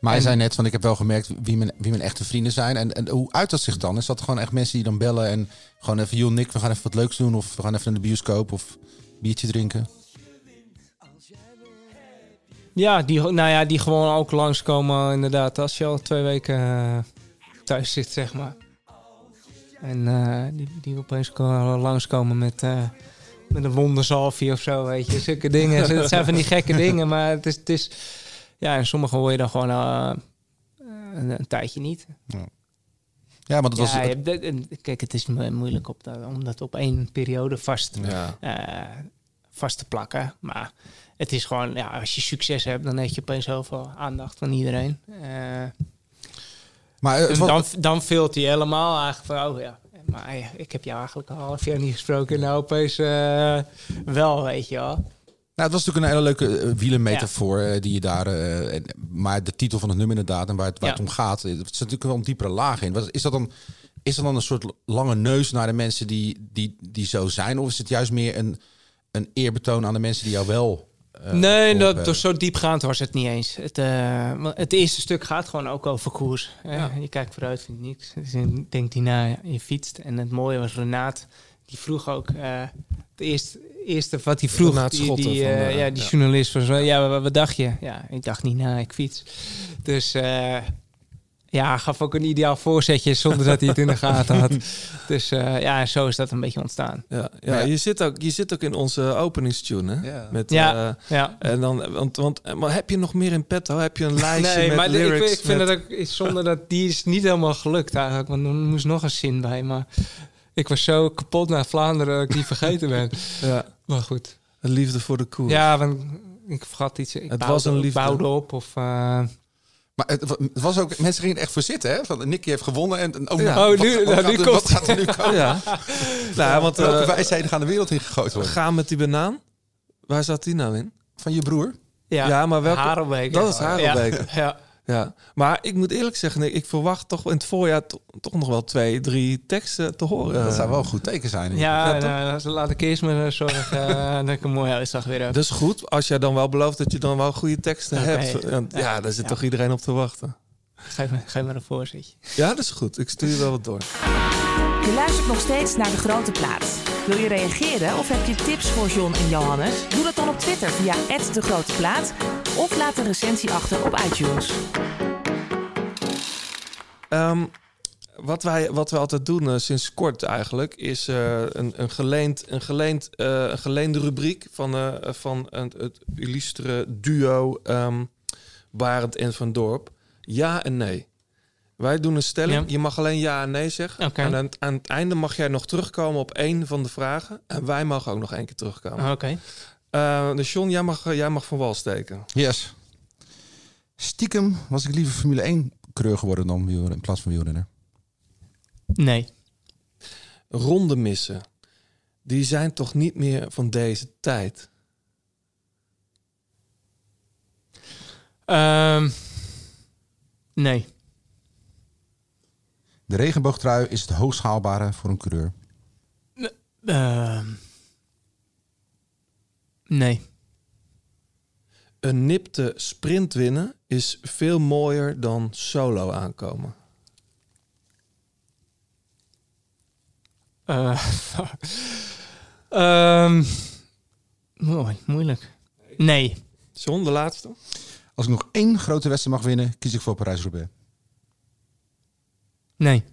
Maar hij
En-
zei net van, ik heb wel gemerkt wie mijn, wie mijn echte vrienden zijn. En, en hoe uit dat zich dan? Is dat gewoon echt mensen die dan bellen en gewoon even... joh Nick, we gaan even wat leuks doen of we gaan even naar de bioscoop of biertje drinken?
Ja, die, nou ja, die gewoon ook langskomen inderdaad. Als je al twee weken eh, thuis zit, zeg maar. En eh, die, die opeens ko- langskomen met, eh, met een wonderzalfje of zo, weet je. Zulke dingen. Het zijn van die gekke dingen, maar het is... Het is ja, en sommige hoor je dan gewoon eh, een, een tijdje niet.
Ja, want het was...
ja, je hebt dit- en kijk, het is mo- moeilijk op dat, om dat op één periode vast,
Ja.
eh, vast te plakken. Maar het is gewoon, ja, als je succes hebt, dan heb je opeens zoveel aandacht van iedereen. Eh,
maar eh, het
en
was,
dan, dan vult hij helemaal eigenlijk van, oh ja, maar eh, ik heb jou eigenlijk een half jaar niet gesproken. Nou, opeens eh, wel, weet je wel.
Nou, het was natuurlijk een hele leuke eh, wielermetafoor eh, die je daar. eh, en- maar de titel van het nummer inderdaad en waar het, waar
Ja.
het om gaat, eh, er zit natuurlijk wel een diepere laag in. Wat- Is dat dan, is dat dan een soort lange neus naar de mensen die, die, die zo zijn? Of is het juist meer een, een eerbetoon aan de mensen die jou wel. eh,
Nee,
geholpen
dat,
hebben?
dus zo diepgaand was het niet eens. Het, eh, want het eerste stuk gaat gewoon ook over koers. Eh, Je kijkt vooruit, vindt niks. Dus je denkt hierna, je fietst. En het mooie was Renaat, die vroeg ook... eh, het eerste, eerste wat hij vroeg,
Renaat
die,
Schotten
die,
van de-
eh, ja, die
ja.
journalist was... wel, Ja, wat, wat dacht je? Ja, ik dacht niet na, ik fiets. Dus... eh, ja, gaf ook een ideaal voorzetje zonder dat hij het in de gaten had. Dus eh, ja, zo is dat een beetje ontstaan.
Ja, ja,
Ja.
Je, zit ook, je zit ook in onze openingstune, hè?
Ja.
Met,
Ja.
eh,
Ja.
en dan, want, want eh, maar heb je nog meer in petto? Heb je een lijstje
nee,
met
maar de- ik,
lyrics?
vind- ik vind
met-
dat ook is zonder dat die is niet helemaal gelukt eigenlijk, want er moest nog een zin bij, maar ik was zo kapot naar Vlaanderen dat ik die vergeten ben.
ja,
Maar goed.
een liefde voor de koers.
Ja, want ik vergat iets. Ik
Het
bouwde-
was een liefde.
ik bouwde op of eh,
Maar het, wa- het was ook, mensen gingen er echt voor zitten, hè? Van Nicky heeft gewonnen en en- oh,
Ja.
nou,
Oh, nu- nou,
gaat
nu
er-
komt-
wat gaat er nu komen?
Ja. nou, want
Welke
eh
wijsheden gaan de wereld in gegooid worden?
gaan met die banaan. Waar zat die nou in?
Van je broer?
ja,
Ja, maar welke-
Harelbeke.
dat is Harelbeke.
Ja. ja.
Ja, maar ik moet eerlijk zeggen, ik- ik verwacht toch in het voorjaar to- toch nog wel twee, drie teksten te horen.
dat zou wel een goed teken zijn.
Ja,
Ja,
nou, laat ik eerst maar zorgen eh, dat ik een mooie uitslag weer heb.
Dat is goed, als jij dan wel belooft dat je dan wel goede teksten
Oké.
hebt. Want Ja, daar zit
Ja.
toch iedereen op te wachten.
Geef, me, geef me een voorzetje.
Ja, dat is goed. Ik stuur je wel wat door.
Je luistert nog steeds naar De Grote Plaats. Wil je reageren of heb je tips voor John en Johannes? Doe dat dan op Twitter via De Grote Plaat of laat een recensie achter op iTunes.
Ehm, wat, wij, wat we altijd doen eh, sinds kort eigenlijk, is eh, een, een, geleend, een, geleend, eh, een geleende rubriek van, eh, van een- het illustere duo ehm Barend en Van Dorp. Ja en nee. Wij doen een stelling.
Ja.
Je mag alleen ja en nee zeggen.
Oké.
En aan, het- aan het einde mag jij nog terugkomen op één van de vragen. En wij mogen ook nog één keer terugkomen.
Oké.
Eh, dus John, jij mag, eh, jij mag van wal steken.
Yes. Stiekem was ik liever Formule 1 coureur geworden dan wielrenner, in plaats van wielrenner.
Nee.
Ronde missen. Die zijn toch niet meer van deze tijd?
Ehm, nee.
De regenboogtrui is het hoogst haalbare voor een coureur.
Ehm, nee.
Een nipte sprint winnen is veel mooier dan solo aankomen.
Eh, Ehm mooi, moeilijk. Nee.
John, de laatste.
Als ik nog één grote wedstrijd mag winnen, kies ik voor Parijs-Roubaix.
Nee.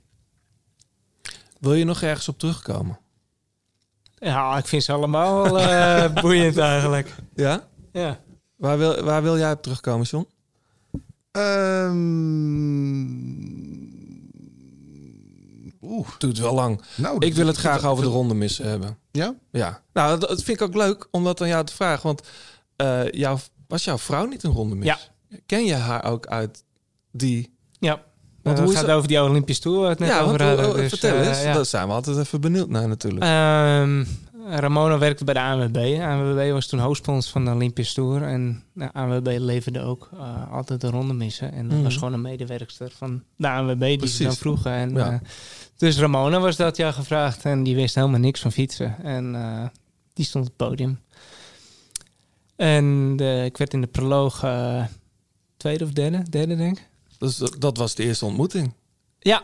Wil je nog ergens op terugkomen?
Ja, ik vind ze allemaal wel, eh, boeiend eigenlijk.
Ja?
Ja.
Waar wil, waar wil jij op terugkomen, John?
Ehm,
Oeh. Doet wel lang.
nou,
Ik
dat-
wil het graag over de ronde missen hebben.
Ja?
Ja. Nou, dat, dat vind ik ook leuk om dat aan jou te vragen. Want eh, jouw, was jouw vrouw niet een ronde mis?
Ja.
Ken je haar ook uit die...
Ja.
Want
Want
hoe
het
is
gaat
dat-
over die Olympische Tour waar we het net
ja,
over
want, hoe-
hadden.
hoe-
dus,
vertel
eh,
eens.
ja.
Daar zijn we altijd even benieuwd naar natuurlijk.
Ehm, Ramona werkte bij de ANWB. ANWB was toen hoofdsponsor van de Olympische Tour. En de ANWB leverde ook eh, altijd de ronde missen. En dat
Mhm.
was gewoon een medewerkster van de ANWB die
Precies.
ze dan vroegen. En,
Ja.
eh, dus Ramona was dat jaar gevraagd. En die wist helemaal niks van fietsen. En eh, die stond op het podium. En eh, ik werd in de proloog eh, tweede of derde. Derde denk ik.
Dus dat, dat was de eerste ontmoeting
Ja,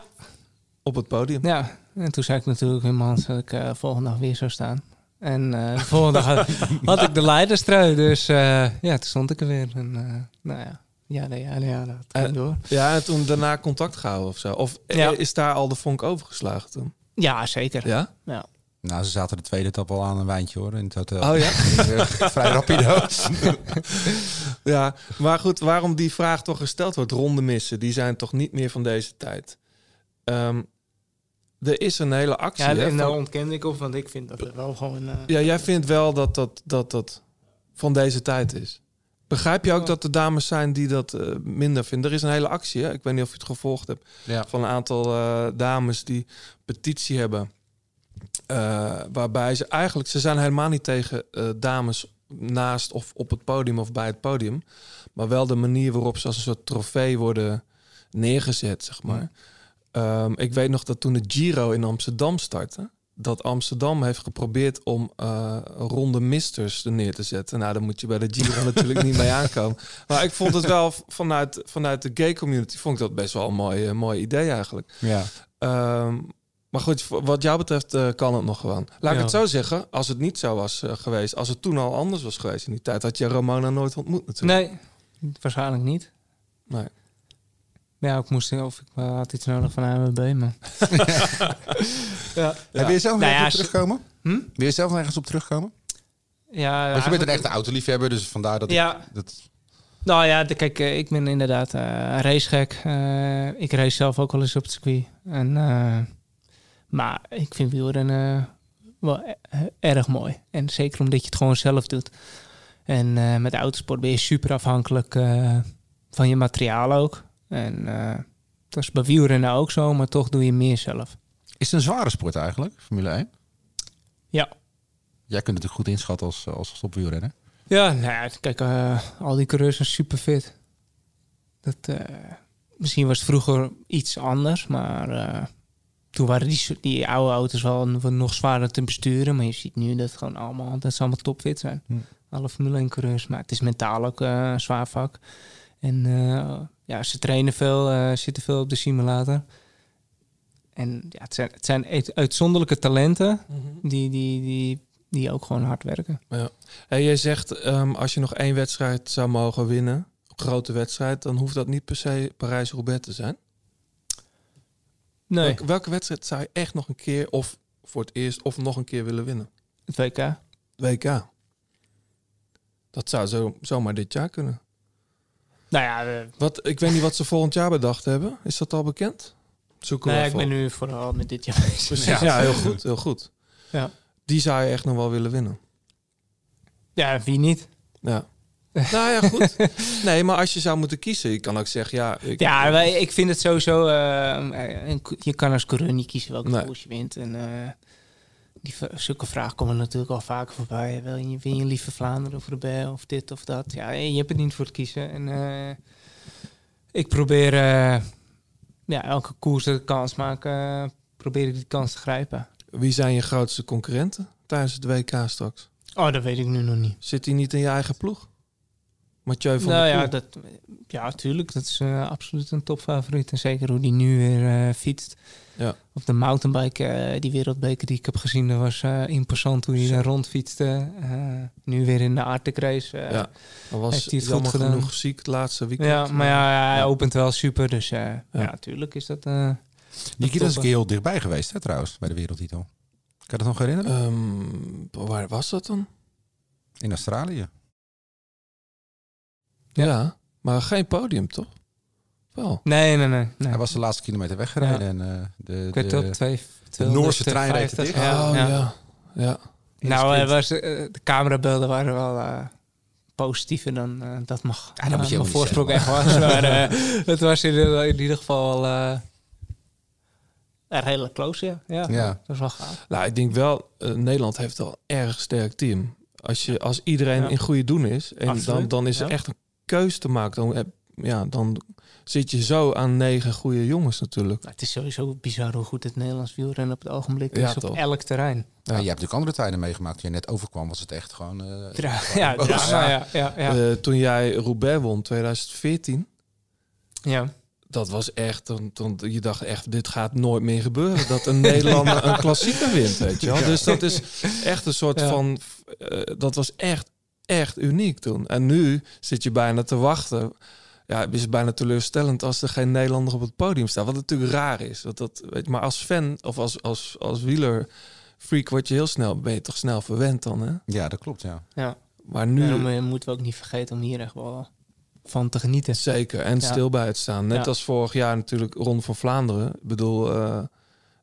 op het podium.
ja, en toen zei ik natuurlijk in mijn hand dat ik eh, volgende dag weer zou staan. En eh, de volgende dag had, had ik de leiderstrui. Dus eh, ja, toen stond ik er weer. En eh, nou ja, ja, nee, ja, nee, ja, dat ging
En-
door.
Ja, en toen daarna contact gehouden of zo. Of eh,
Ja.
is daar al de vonk overgeslagen toen?
Ja, zeker. Ja.
Ja?
Nou, ze zaten de tweede tap al aan een wijntje hoor in het hotel.
Oh ja?
Vrij rapido.
Ja, maar goed, waarom die vraag toch gesteld wordt, ronde missen, die zijn toch niet meer van deze tijd. Ehm, er is een hele actie. hè,
en nou-
van-
daar ontkende ik op, want ik vind dat er wel gewoon... eh,
ja, jij vindt wel dat dat, dat dat van deze tijd is. Begrijp je ook dat er dames zijn die dat eh, minder vinden? Er is een hele actie, hè? ik weet niet of je het gevolgd hebt,
Ja.
van een aantal eh, dames die petitie hebben. eh, waarbij ze eigenlijk, ze zijn helemaal niet tegen eh, dames naast of op het podium of bij het podium. Maar wel de manier waarop ze als een soort trofee worden neergezet, zeg maar. Ehm, ik weet nog dat toen de Giro in Amsterdam startte, dat Amsterdam heeft geprobeerd om eh, ronde misters er neer te zetten. Nou, daar moet je bij de Giro natuurlijk niet mee aankomen. Maar ik vond het wel v- vanuit, vanuit de gay community vond ik dat best wel een mooi, eh, mooi idee eigenlijk.
ja.
Ehm, maar goed, voor- wat jou betreft eh, kan het nog gewoon. Laat ik
Ja.
het zo zeggen, als het niet zo was eh, geweest, als het toen al anders was geweest in die tijd, had je Ramona nooit ontmoet natuurlijk.
nee, waarschijnlijk niet.
Nee.
Ja, ik moest of ik eh, had iets nodig van AMB, maar... ja.
Heb je er zelf nog
Nou ja,
ergens
ze-
op terugkomen?
Hm?
Wil je zelf nog ergens op terugkomen?
Ja,
Want je bent een
eigenlijk-
echte autoliefhebber, dus vandaar dat ik...
Ja,
Dat,
nou ja, de- kijk, eh, ik ben inderdaad eh, een racegek. Eh, ik race zelf ook wel eens op het circuit. En, eh, maar ik vind wielrennen eh, wel e- erg mooi. En zeker omdat je het gewoon zelf doet. En eh, met autosport ben je super afhankelijk eh, van je materiaal ook. En eh, dat is bij wielrennen ook zo, maar toch doe je meer zelf.
is het een zware sport eigenlijk, Formule 1?
Ja.
Jij kunt het natuurlijk goed inschatten als, als stopwielrenner.
Ja, nou ja, kijk, eh, al die coureurs zijn super fit. Dat, eh, misschien was het vroeger iets anders, maar eh, toen waren die, so- die oude auto's wel n- wat nog zwaarder te besturen. Maar je ziet nu dat, het gewoon allemaal, dat ze allemaal topfit zijn.
Hm.
Alle Formule 1 coureurs, maar het is mentaal ook eh, een zwaar vak. En eh, ja, ze trainen veel, eh, zitten veel op de simulator. En ja, het zijn, het zijn uit- uitzonderlijke talenten die, die, die, die ook gewoon hard werken.
Hey, jij zegt, ehm, als je nog één wedstrijd zou mogen winnen, een grote wedstrijd, dan hoeft dat niet per se Parijs-Roubaix te zijn.
Nee.
Welke, welke wedstrijd zou je echt nog een keer of voor het eerst of nog een keer willen winnen?
Het WK.
WK. Dat zou zo, zomaar dit jaar kunnen.
Nou ja, eh,
Wat, ik weet niet wat ze volgend jaar bedacht hebben. Is dat al bekend? Zoeken
nou
we
ja, ik
even
ben
op.
nu vooral met dit jaar bezig.
Precies. Ja, heel goed. Heel goed.
Ja.
Die zou je echt nog wel willen winnen.
Ja, wie niet?
Ja. nou ja, goed. Nee, maar als je zou moeten kiezen, je kan ook zeggen, ja, ik,
Ja, wij, ik vind het sowieso... eh, een co- je kan als coureur niet kiezen welke
Nee.
koers je wint. En, eh, die, v- zulke vragen komen natuurlijk al vaker voorbij. Wil je, win je liever Vlaanderen of Roubaix of dit of dat? Ja, je hebt het niet voor het kiezen. En, eh, ik probeer eh, ja, elke koers dat ik kans maak... eh, probeer ik die kans te grijpen.
wie zijn je grootste concurrenten tijdens het WK straks?
Oh, dat weet ik nu nog niet.
Zit hij niet in je eigen ploeg? Mathieu van
nou
der
ja,
Poel.
dat, ja, tuurlijk. Dat is eh, absoluut een topfavoriet. En zeker hoe die nu weer eh, fietst.
Ja.
Op de mountainbike, eh, die wereldbeker die ik heb gezien, dat was eh, imposant hoe hij daar rondfietste. Eh, nu weer in de Arctic Race. eh.
Ja. Dan was
Heeft hij het
jammer
goed gedaan?
genoeg ziek het laatste weekend.
Ja, maar ja, hij
Ja.
opent wel super. Dus eh, ja. tuurlijk is dat... eh,
Nikita is een
toppen.
keer heel dichtbij geweest, hè, trouwens, bij de wereldtitel. Kan je dat nog
Eh.
herinneren?
Ehm, waar was dat dan?
In Australië.
Ja. maar geen podium toch? Wel.
nee, nee, nee. nee.
Hij was de laatste kilometer weggereden. En, eh, de,
ik weet
de-
het op twee...
Noorse trein reed het
250.
dicht.
oh ja. ja.
Nou, eh, was, eh, de camerabeelden waren wel eh, positiever dan eh, dat mag.
Ja, dat moet je
Eh,
ook niet
mijn voorsprong echt was. Maar eh, het was in, ieder- in ieder geval eh een hele close, ja. ja.
Ja.
Dat was wel gaaf.
Nou, ik denk wel, eh, Nederland heeft wel een erg sterk team. Als, je, als iedereen
Ja.
in goede doen is, en dan,
Absoluut,
dan is er
ja.
echt een keus te maken. Dan, heb- ja, dan zit je zo aan negen goede jongens natuurlijk.
Maar Nou, het is sowieso bizar hoe goed het Nederlands wielrennen op het ogenblik
Ja,
is op
toch?
elk terrein.
Ja, je hebt natuurlijk andere tijden meegemaakt. Toen je net overkwam, was het echt gewoon... eh,
Dra- ja, Eh, drama, ja. Ja, ja, ja.
Eh, toen jij Roubaix won, 2014, dat was echt, dan, dan, je dacht echt, dit gaat nooit meer gebeuren. Dat een Nederlander een klassieker wint, weet je wel. Dus dat is echt een soort
Ja.
van, eh, dat was echt, echt uniek toen. En nu zit je bijna te wachten. Ja, het is bijna teleurstellend als er geen Nederlander op het podium staat. Wat natuurlijk raar is. Want dat, weet, je, maar als fan of als, als, als wieler freak word je heel snel, ben je toch snel verwend dan, hè?
Ja, dat klopt, ja.
Ja.
Maar nu...
Daarom eh, moeten we ook niet vergeten om hier echt wel van te genieten.
Zeker, en
Ja.
stil bij het staan. Net
Ja.
als vorig jaar natuurlijk Ron van Vlaanderen. Ik bedoel, eh,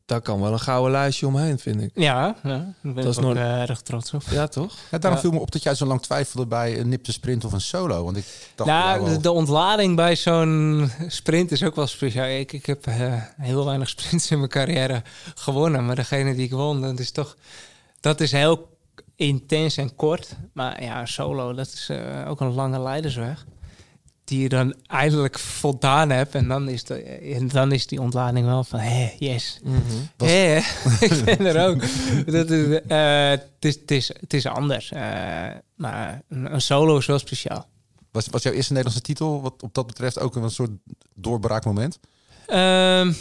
daar kan wel een gouden lijstje omheen, vind ik.
Ja, ja daar
is
ben ik ook
nooit-
eh, erg trots op.
Ja, toch?
Ja, daarom
Ja.
viel me op dat jij zo lang twijfelde bij een nipte sprint of een solo. Want ik dacht, ja,
Nou,
wel-
de, de ontlading bij zo'n sprint is ook wel speciaal. Ik, ik heb eh, heel weinig sprints in mijn carrière gewonnen. Maar degene die ik won, dat is toch... Dat is heel intens en kort. Maar ja, solo, dat is eh, ook een lange leidersweg. Die je dan eindelijk voldaan hebt. En dan is, de, en dan is die ontlading wel van... Hé, yes.
Was-
Hé, ik ben er ook. Dat is, eh, het, is, het, is, het is anders. Eh, maar een, een solo is wel speciaal.
was, was jouw eerste Nederlandse titel wat op dat betreft ook een soort doorbraakmoment?
Ehm,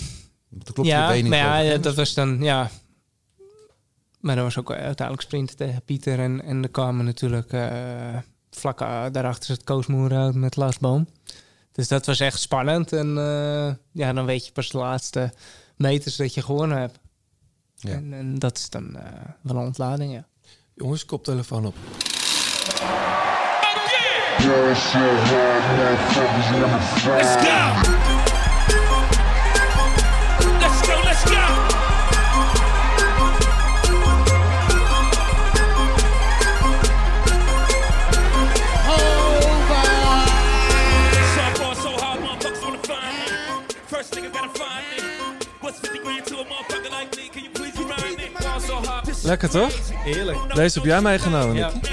Dat klopt,
ja,
je been niet. eh,
maar ja,
geloof ik.
ja, dat was dan, ja. Maar dat was ook uiteindelijk sprint tegen Pieter. En, en er kwamen natuurlijk eh, vlak eh, daarachter het Koosmoer uit met Lars Boom. Dus dat was echt spannend. En eh, ja, dan weet je pas de laatste meters dat je gewonnen hebt.
Ja.
En, en dat is dan eh, wel een ontlading, ja.
Jongens, koptelefoon op. Lekker, toch?
Heerlijk.
Deze heb jij meegenomen,
Ja.
Nicky.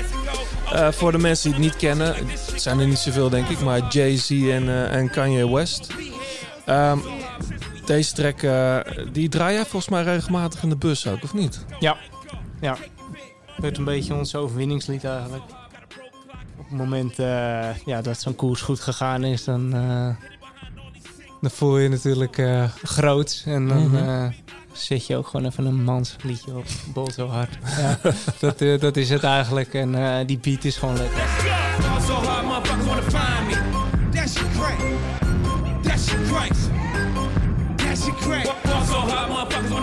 Eh, voor de mensen die het niet kennen, het zijn er niet zoveel, denk ik, maar Jay-Z en, eh, en Kanye West. Ehm, deze track, eh, die draai jij volgens mij regelmatig in de bus ook, of niet?
Ja, ja. Het werd een beetje ons overwinningslied eigenlijk. Op het moment eh, ja, dat zo'n koers goed gegaan is, dan, eh, dan voel je je natuurlijk eh, groot. En dan
Mhm.
eh, zet je ook gewoon even een mansliedje op. Bol zo hard. ja, dat, eh, dat is het eigenlijk. En eh, die beat is gewoon lekker.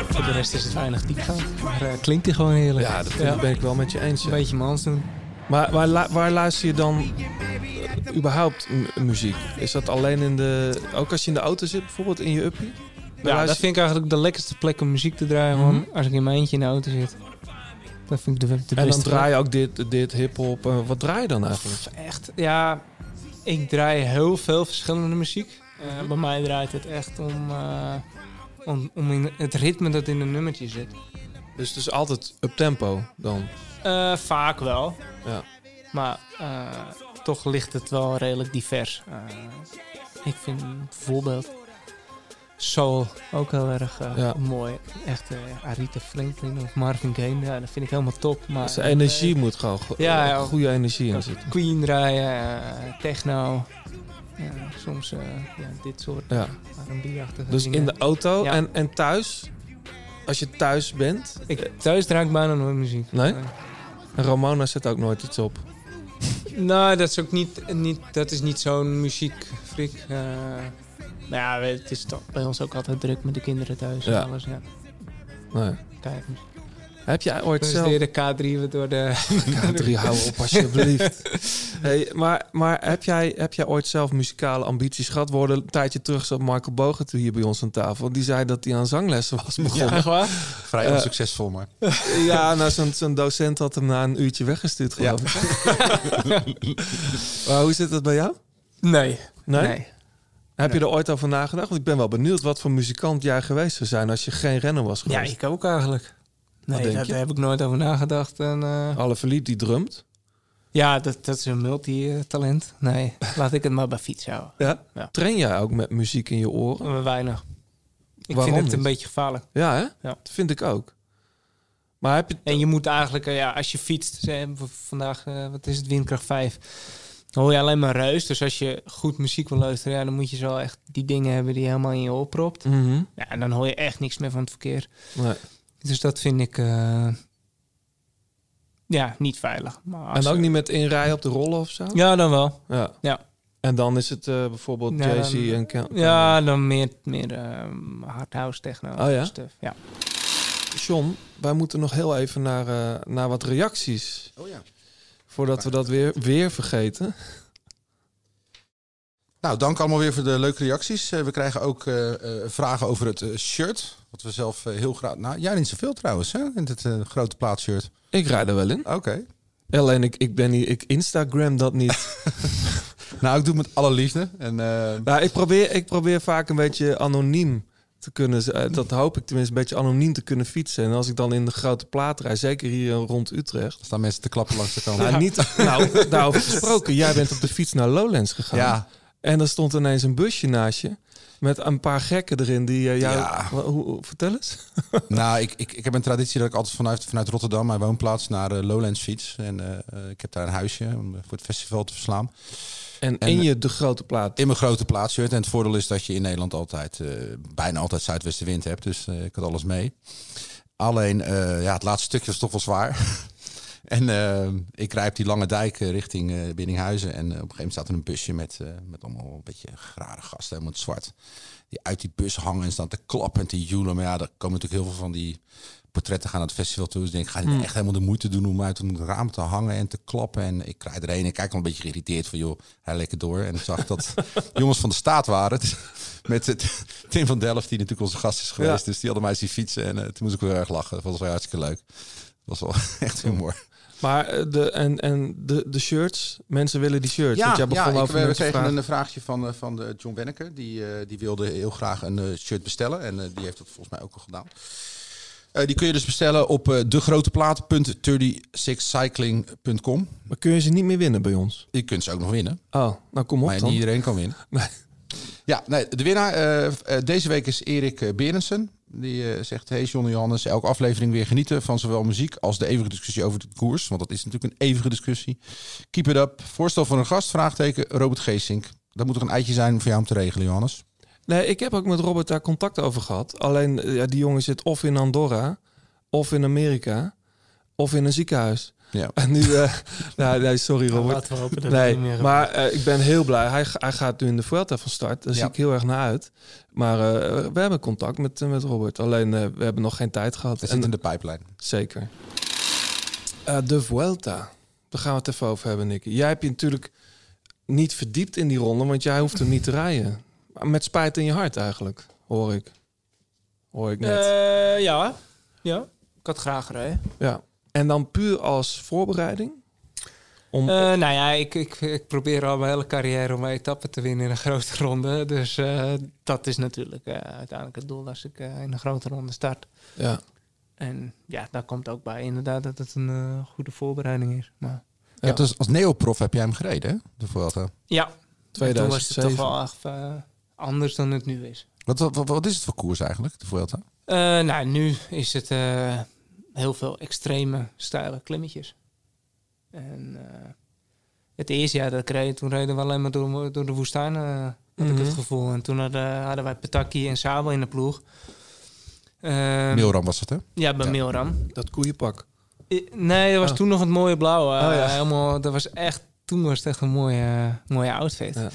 Voor de rest is het weinig diepgang. Maar eh, klinkt die gewoon heerlijk.
Ja, dat ben ik wel met je eens.
Een beetje mans doen.
Maar waar, lu- waar luister je dan eh, überhaupt m- muziek? Is dat alleen in de... Ook als je in de auto zit, bijvoorbeeld in je uppie?
Ja, dat vind ik eigenlijk de lekkerste plek om muziek te draaien, man.
Mhm.
Als ik in mijn eentje in de auto zit. Dat vind ik de, de
En dan
beste
draai je ook dit, dit hiphop. eh, wat draai je dan eigenlijk?
plek. Echt, ja. Ik draai heel veel verschillende muziek. Eh, bij mij draait het echt om, eh, om, om in het ritme dat in een nummertje zit.
Dus het is altijd up tempo dan.
Eh, vaak wel.
Ja.
Maar eh, toch ligt het wel redelijk divers. Eh, ik vind bijvoorbeeld soul ook heel erg eh,
Ja.
mooi. Echt eh, Arita Franklin of Marvin Gaye, ja, dat vind ik helemaal top. Maar
Dus de energie moet gewoon go-
Ja, ja.
goede energie
eh,
in zitten.
Queen draaien, eh, techno. Ja, soms eh, ja, dit soort
Ja.
R&B-achtige
Dus
dingen.
in de auto
Ja.
en, en thuis. Als je thuis bent.
ik, thuis draai ik bijna nooit muziek.
Nee?
Eh,
En Ramona zet ook nooit iets op.
Nou, dat is ook niet, niet, dat is niet zo'n muziekfrik. eh. nou ja, we- het is toch bij ons ook altijd druk met de kinderen thuis
Ja.
en alles. Ja.
Nee.
Kijk, dus-
Heb jij ooit
dat is
zelf...
weer de K3 wat door de...
Ja, drie, hou op alsjeblieft. Hey, maar maar heb, jij, heb jij ooit zelf muzikale ambities gehad? Worden een tijdje terug zat Marco Bogert hier bij ons aan tafel. Die zei dat hij aan zanglessen was begonnen.
Echt waar?
Vrij
Eh,
onsuccesvol, maar.
Ja, nou, zo'n zo'n docent had hem na een uurtje weggestuurd, geloof ik. maar hoe zit dat bij jou?
Nee.
Nee?
nee.
Heb je er ooit over nagedacht? Want ik ben wel benieuwd wat voor muzikant jij geweest zou zijn als je geen renner was
Ja,
geweest.
ik ook eigenlijk. Nee,
denk
daar
je? Oh.
daar heb ik nooit over nagedacht. En, eh,
Alle verliep die drumt.
Ja, dat, dat is een multitalent. Nee, laat ik het maar bij fiets houden.
Ja?
Ja.
Train jij ook met muziek in je oren?
Maar Weinig. Ik
Waarom
vind het een
niet?
beetje gevaarlijk.
Ja, hè?
Ja.
Dat vind ik ook. Maar heb je...
En je moet eigenlijk, eh, ja, als je fietst, ze hebben v- vandaag, eh, wat is het, windkracht 5. Dan hoor je alleen maar reus. Dus als je goed muziek wil luisteren, ja, dan moet je zo echt die dingen hebben die je helemaal in je oor propt.
Mhm.
Ja, en dan hoor je echt niks meer van het verkeer.
Nee.
Dus dat vind ik eh, ja, niet veilig. Maar als
En ook
er-
niet met inrijden op de rollen of zo?
Ja, dan wel.
Ja.
Ja.
En dan is het eh, bijvoorbeeld
Ja,
Jay-Z
dan-
en Ken-
Ja, dan meer, meer ehm, hardhouse techno.
Oh ja?
stuff. ja.
John, wij moeten nog heel even naar, eh, naar wat reacties.
Oh ja.
Voordat we dat weer, weer vergeten.
Nou, dank allemaal weer voor de leuke reacties. Eh, we krijgen ook eh, eh, vragen over het eh, shirt. Wat we zelf eh, heel graag... Nou, jij niet zoveel trouwens, hè? In het eh, grote plaatsshirt.
Ik rijd er wel in.
Oké.
Alleen ik, ik ben niet, ik Instagram dat niet.
Nou, ik doe het met alle liefde. En, eh,
nou, ik probeer, ik probeer vaak een beetje anoniem te kunnen, z- eh, dat hoop ik tenminste, een beetje anoniem te kunnen fietsen. En als ik dan in de grote plaat rijd, zeker hier rond Utrecht.
staan mensen te klappen langs de kant.
Nou, niet, nou, daarover gesproken. Jij bent op de fiets naar Lowlands gegaan.
Ja,
En er stond ineens een busje naast je. Met een paar gekken erin die eh, jou...
Ja.
Wa- hoe, hoe- vertel eens.
nou, ik, ik, ik heb een traditie dat ik altijd vanuit, vanuit Rotterdam, mijn woonplaats, naar eh, Lowlands fiets. En eh, eh, ik heb daar een huisje om eh, voor het festival te verslaan.
En,
En-
in je de grote plaat.
In mijn grote plaatsshirt. En het voordeel is dat je in Nederland altijd, eh, bijna altijd zuidwestenwind hebt. Dus eh, ik had alles mee. Alleen, eh, ja, het laatste stukje was toch wel zwaar. en eh, ik rijd op die lange dijk eh, richting eh Biddinghuizen. En eh, op een gegeven moment staat er een busje met, eh, met allemaal een beetje grare gasten, helemaal in het zwart. Die uit die bus hangen en staan te klappen en te joelen. Maar ja, er komen natuurlijk heel veel van die portretten gaan naar het festival toe. Dus ik denk, ga je nou echt helemaal de moeite doen om uit een raam te hangen en te klappen. En ik rijd erheen en ik kijk al een beetje geïrriteerd van, joh, hij lekker door. En ik zag dat jongens van de staat waren. Met het, Tim van Delft, die natuurlijk onze gast is geweest.
Ja.
Dus die hadden mij zien fietsen en eh, toen moest ik wel heel erg lachen. Dat was wel hartstikke leuk. Dat was wel echt humor.
Maar eh, de, en, en de, de shirts. Mensen willen die shirts. want jij begon
ik,
over
we, we
mensen
kregen
vragen.
een vraagje van, eh, van de John Wenneker. Die, eh, die wilde heel graag een eh, shirt bestellen. En eh, die heeft dat volgens mij ook al gedaan. Eh, die kun je dus bestellen op eh degroteplaat.36cycling.com.
Maar kun je ze niet meer winnen bij ons?
Je kunt ze ook nog winnen.
Oh, nou kom op
maar
dan.
niet iedereen kan winnen.
Nee.
Ja, nee, de winnaar eh, eh, deze week is Erik eh, Berensen. Die eh, zegt, hey John en Johannes, elke aflevering weer genieten van zowel muziek als de eeuwige discussie over de koers. Want dat is natuurlijk een eeuwige discussie. Keep it up. Voorstel van een gast, vraagteken, Robert Geesink. Dat moet toch een eitje zijn voor jou om te regelen, Johannes?
Nee, ik heb ook met Robert daar contact over gehad. Alleen eh, ja, die jongen zit of in Andorra, of in Amerika, of in een ziekenhuis.
Ja.
En nu, eh, nou, nee, sorry Robert.
Laten we hopen dat het
Nee,
niet meer gebeurt.
maar eh, ik ben heel blij. Hij, ga- hij gaat nu in de Vuelta van start. Daar
Ja.
zie ik heel erg naar uit. Maar eh, we hebben contact met, eh, met Robert. Alleen eh, we hebben nog geen tijd gehad.
Dat
En,
zit in de pijplijn.
Zeker. Eh, de Vuelta. Daar gaan we het even over hebben, Nicky. Jij hebt je natuurlijk niet verdiept in die ronde, want jij hoeft hem niet te rijden. Maar Met spijt in je hart eigenlijk, hoor ik. Hoor ik net.
Eh, ja. ja, ik had graag gereden.
Ja. En dan puur als voorbereiding? Om...
Eh, nou ja, ik, ik, ik probeer al mijn hele carrière om een etappe te winnen in een grote ronde. Dus eh, dat is natuurlijk eh, uiteindelijk het doel als ik eh, in een grote ronde start.
ja.
En ja, daar komt ook bij inderdaad dat het een eh, goede voorbereiding is. Maar,
Je hebt dus als neoprof heb jij hem gereden, hè? De Vuelta.
ja, maar toen was het
2007.
toch wel echt eh, anders dan het nu is.
Wat, wat, wat is het voor koers eigenlijk, de Vuelta?
Eh, nou, nu is het eh, heel veel extreme, steile klimmetjes. En eh, het eerste jaar dat ik reed, toen reden we alleen maar door, door de woestijn, eh, had ik
Mhm.
het gevoel. En toen hadden, eh, hadden wij Pataki en Sabel in de ploeg. Ehm,
Milram was het, hè?
Ja, bij
Ja.
Milram.
Dat koeienpak.
I- Nee, dat was
Oh.
toen nog het mooie blauwe.
Oh, ja.
Eh, helemaal, dat was echt, toen was het echt een mooie, mooie outfit.
Ja.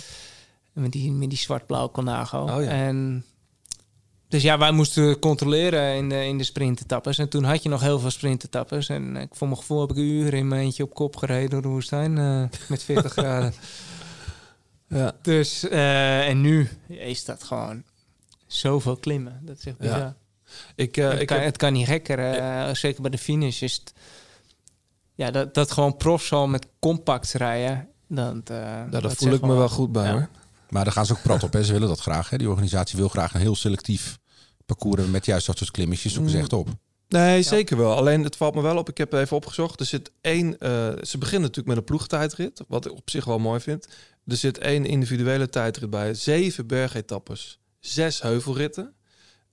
Met die, met die zwart-blauwe Conago.
Oh, ja.
en, dus ja, wij moesten controleren in de, in de sprintetappes. En toen had je nog heel veel sprintetappes. En ik, voor mijn gevoel heb ik uren in mijn eentje op kop gereden door de woestijn eh, met 40 graden.
Ja.
Dus, eh, en nu is dat gewoon zoveel klimmen. Dat is echt
Ja.
bizar.
Ik, eh,
het,
ik
kan,
heb-
het kan niet gekker. eh, Zeker bij de finish is het... Ja, dat, dat gewoon profs al met compact rijden. Dat, eh,
Nou, daar
dat
voel
zegt
ik me wel goed bij
Ja.
hoor.
Maar daar gaan ze ook prat op. Hè. Ze willen dat graag. Hè. Die organisatie wil graag een heel selectief parcours hebben met juist dat soort klimmetjes. Zoeken ze echt op.
Nee, zeker wel. Alleen het valt me wel op. Ik heb even opgezocht. Er zit één. eh, ze beginnen natuurlijk met een ploegtijdrit. Wat ik op zich wel mooi vind. Er zit één individuele tijdrit bij. Zeven bergetappes. Zes heuvelritten.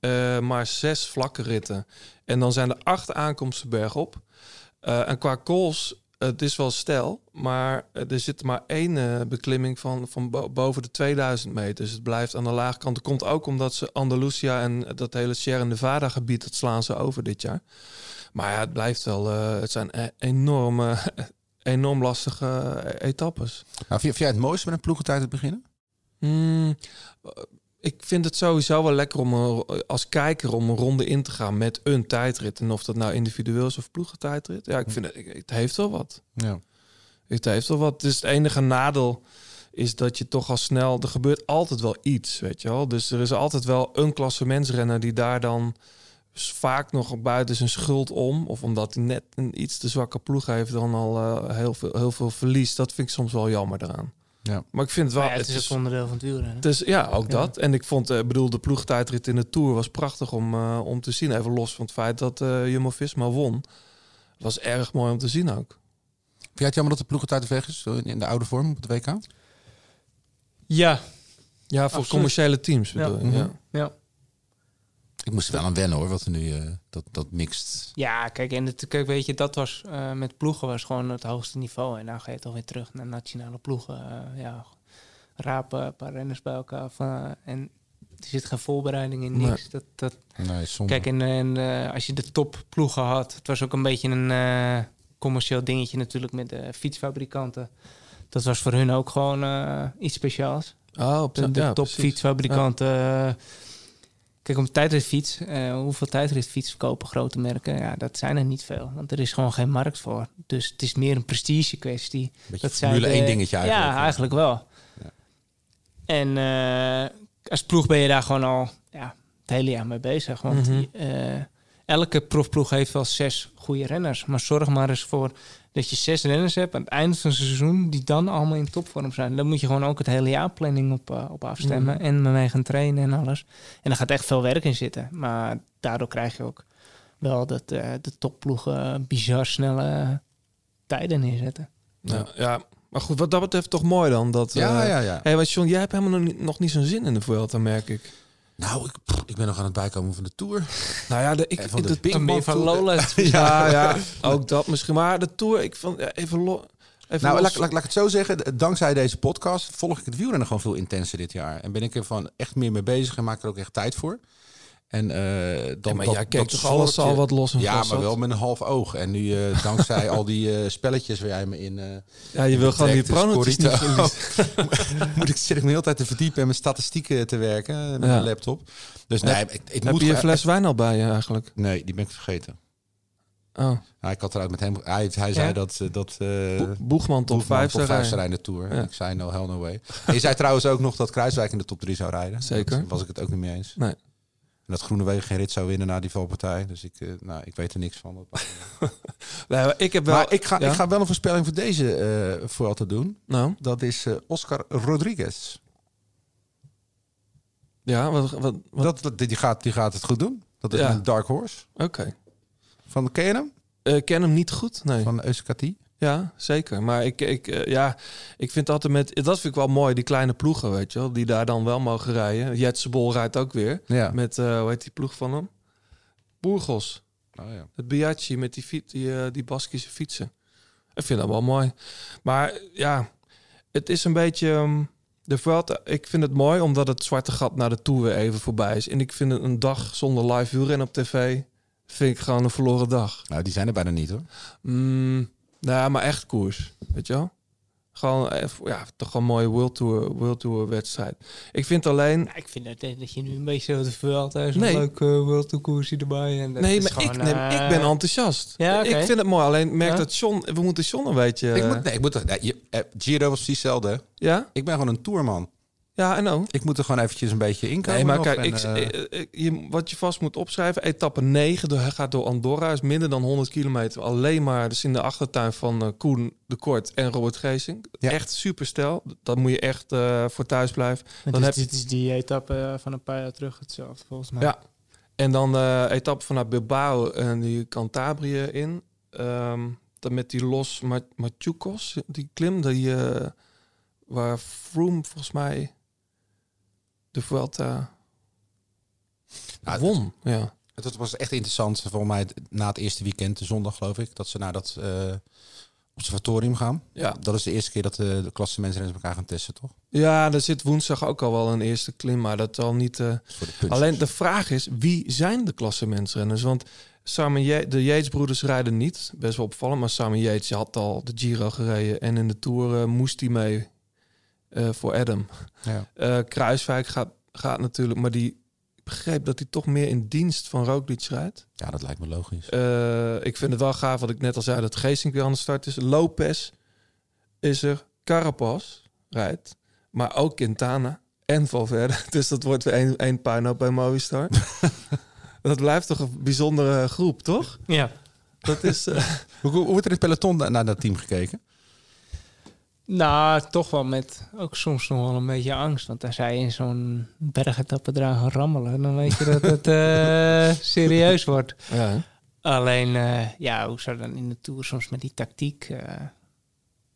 eh, maar zes vlakke ritten. En dan zijn er acht aankomsten bergop. Eh en qua calls het is wel stijl, maar eh, er zit maar één eh, beklimming van, van bo- boven de 2000 meter. Dus het blijft aan de laagkant. Dat komt ook omdat ze Andalusia en eh, dat hele Sierra Nevada gebied, dat slaan ze over dit jaar. Maar ja, het blijft wel, eh, het zijn e- enorme, enorm lastige eh, etappes.
Nou, vind, vind jij het mooiste met een ploegentijd te beginnen?
Hmm, eh, ik vind het sowieso wel lekker om een- als kijker om een ronde in te gaan met een tijdrit. En of dat nou individueel is of ploegentijdrit. Ja, ik vind het, het heeft wel wat.
Ja.
Het heeft wel wat. Dus het enige nadeel is dat je toch al snel... Er gebeurt altijd wel iets, weet je wel. Dus er is altijd wel een klassementsrenner die daar dan s- vaak nog buiten zijn schuld om... of omdat hij net een iets te zwakke ploeg heeft... dan al eh, heel, veel, heel veel verlies. Dat vind ik soms wel jammer eraan.
Ja.
Maar ik vind het wel...
Maar ja, het is ook onderdeel van het wielrennen.
het is- ja, ook
Ja.
dat. En ik vond, eh, ik bedoel, de ploegtijdrit in de Tour was prachtig om, eh, om te zien. Even los van het feit dat eh Jumbo-Visma won. Was erg mooi om te zien ook.
Vind jij het jammer dat de ploegentijd weg is eh, in de oude vorm op het WK?
Ja,
Ja, voor
Absoluut.
commerciële teams
Ja.
bedoel je,
Mhm.
ja.
ja.
Ik moest er wel aan wennen hoor, wat er nu eh, dat, dat mixt.
Ja, kijk, en het, kijk, weet je, dat was eh, met ploegen was gewoon het hoogste niveau. En dan ga je toch weer terug naar nationale ploegen. Eh, ja, rapen, een paar renners bij elkaar. Van, en er zit geen voorbereiding in, niks. Dat, dat,
Nee, zonde.
kijk, en, en eh, als je de topploegen had, het was ook een beetje een eh, commercieel dingetje natuurlijk met de fietsfabrikanten. Dat was voor hun ook gewoon eh, iets speciaals.
Oh, op
De, de topfietsfabrikanten. eh, Kijk, om tijdritfiets. eh, hoeveel tijdritfiets verkopen grote merken? Ja, dat zijn er niet veel. Want er is gewoon geen markt voor. Dus het is meer een prestige kwestie.
Beetje
Dat
Formule
zij de-
1 dingetje eigenlijk. eh.
Ja, eigenlijk wel. En eh, als ploeg ben je daar gewoon al ja, het hele jaar mee bezig. Want
Mhm.
eh, elke profploeg heeft wel zes goede renners. Maar zorg maar eens voor dat je zes renners hebt aan het eind van het seizoen... die dan allemaal in topvorm zijn. Dan moet je gewoon ook het hele jaar planning op, eh, op afstemmen.
Mhm.
En mee gaan trainen en alles. En daar gaat echt veel werk in zitten. Maar daardoor krijg je ook wel dat eh, de topploegen eh, bizar snelle tijden neerzetten.
Ja. ja, maar goed, wat dat betreft toch mooi dan. Dat,
Ja,
eh,
ja, ja.
Hey, want John, jij hebt helemaal nog niet, nog niet zo'n zin in de Vuelta, merk ik.
Nou, ik, pff, ik ben nog aan het bijkomen van de Tour.
Nou ja, de, ik,
En van de
de-
Pinkman
meer
Tour.
ja, ja, ook dat misschien. Maar de Tour, ik vond... ja, even lo, even
Nou,
los.
laat, laat, laat ik het zo zeggen. d- Dankzij deze podcast volg ik het wielrennen gewoon veel intenser dit jaar. En ben ik er van echt meer mee bezig en maak er ook echt tijd voor. En eh, dan
Ja, maar
dat-
jij keek
dat
toch alles
zalfje-
al wat los en
Ja,
vast
maar
had?
wel met een half oog. En nu eh, dankzij al die eh, spelletjes waar jij me in... eh,
Ja, je wil gewoon die
Tractus,
pronoties niet
Corrito.
verliezen.
moet ik, zit ik me de hele tijd te verdiepen en mijn statistieken te werken eh, met
Ja.
mijn laptop. Dus nee, ik, ik
Heb
moet...
je je
gewoon-
fles wijn al bij je eigenlijk?
Nee, die ben ik vergeten.
Oh,
Nou, ik had eruit met hem... Hij, hij zei
Ja?
dat... eh, dat eh,
Bo- Boegman top
Hoefman
5
top
zou
5
rijden.
zou rijden in de Tour.
Ja.
Ik zei no hell no way. En je zei trouwens ook nog dat Kruiswijk in de top 3 zou rijden.
Zeker.
Dat was ik het ook niet mee eens.
Nee.
En dat Groenewegen geen rit zou winnen na die valpartij. Dus ik, eh, nou, ik weet er niks van.
Nee, maar ik heb wel...
Maar ik ga,
ja?
ik ga wel een voorspelling voor deze eh voor altijd doen.
Nou,
Dat is eh, Oscar Rodriguez.
ja, wat... wat, wat-
Dat, dat- die, gaat, die gaat het goed doen. Dat is
Ja.
een dark horse.
Oké.
Van de hem?
Eh, ken hem niet goed, nee.
Van Euskati.
Ja, zeker. Maar ik, ik, eh, ja, ik vind altijd met... Dat vind ik wel mooi, die kleine ploegen, weet je wel. Die daar dan wel mogen rijden. Jetsebol rijdt ook weer.
Ja.
Met, eh, hoe heet die ploeg van hem? Burgos.
Oh, ja.
Het Biaggi met die, fiet, die, eh, die Baskische fietsen. Ik vind dat wel mooi. Maar eh, ja, het is een beetje... ehm, de Vuelta, ik vind het mooi omdat het zwarte gat naar de Tour weer even voorbij is. En ik vind het een dag zonder live wielrennen op tv... vind ik gewoon een verloren dag.
Nou, die zijn er bijna niet hoor.
Mm, nou ja, maar echt koers, weet je wel? Gewoon, eh, v- ja, toch gewoon een mooie World Tour, World Tour wedstrijd. Ik vind alleen...
Ja, ik vind dat, eh, dat je nu een beetje zo te veel thuis
Nee.
een leuke eh, World Tour koersie erbij. En dat
nee,
is
maar
gewoon,
ik, nee, maar
eh,
ik ben enthousiast.
Ja, oké.
Ik vind het mooi, alleen merk
Ja.
dat John... We moeten John een beetje...
Ik
eh,
moet, nee, ik moet, toch- nee, je- eh, Giro was precies hetzelfde. hè?
Ja?
Ik ben gewoon een tourman.
Ja, en ook.
Ik moet er gewoon eventjes een beetje in komen.
Nee, maar
nog
kijk,
en,
ik,
eh,
eh, eh, je, wat je vast moet opschrijven... Etappe 9 door, gaat door Andorra, is minder dan 100 kilometer. Alleen maar dus in de achtertuin van eh, Koen de Kort en Robert Geesink.
Ja.
Echt superstel. Dat moet je echt eh, voor thuis blijven.
het
dan
is-
heb je-
Dus dit is die etappe eh, van een paar jaar terug hetzelfde volgens mij.
Ja. En dan eh etappe vanuit Bilbao en die Cantabrië in. Ehm, dan met die Los Ma- Machucos, die klim, die, eh, waar Froome volgens mij de Vuelta
nou,
won. Ja.
Het was echt interessant voor mij na het eerste weekend, de zondag geloof ik, dat ze naar dat eh, observatorium gaan.
Ja.
Dat is de eerste keer dat eh, de, de klassementsrenners elkaar gaan testen, toch?
Ja, er zit woensdag ook al wel een eerste klim, maar dat zal niet... eh,
Dat is voor de punten.
Alleen de vraag is, wie zijn de klassementsrenners? Want Simon Ye- de Yates-broeders rijden niet. Best wel opvallend, maar Simon Yates je had al de Giro gereden. En in de Tour eh, moest hij mee eh, voor Adam.
Ja.
Eh, Kruiswijk gaat, gaat natuurlijk, maar die ik begreep dat hij toch meer in dienst van Roglic rijdt.
ja, dat lijkt me logisch.
Eh, ik vind het wel gaaf, wat ik net al zei, dat Geesink weer aan de start is. Lopez is er, Carapaz rijdt, maar ook Quintana en Valverde. Dus dat wordt weer één, één puinhoop bij Movistar. dat blijft toch een bijzondere groep, toch?
Ja.
Dat is... eh,
Hoe, hoe wordt er in het peloton na- naar dat team gekeken?
Nou, toch wel met ook soms nog wel een beetje angst. Want als zij in zo'n bergetappen dragen rammelen, dan weet je dat het eh, serieus wordt.
ja, hè?
Alleen, eh, ja, hoe zou dan in de Tour soms met die tactiek eh,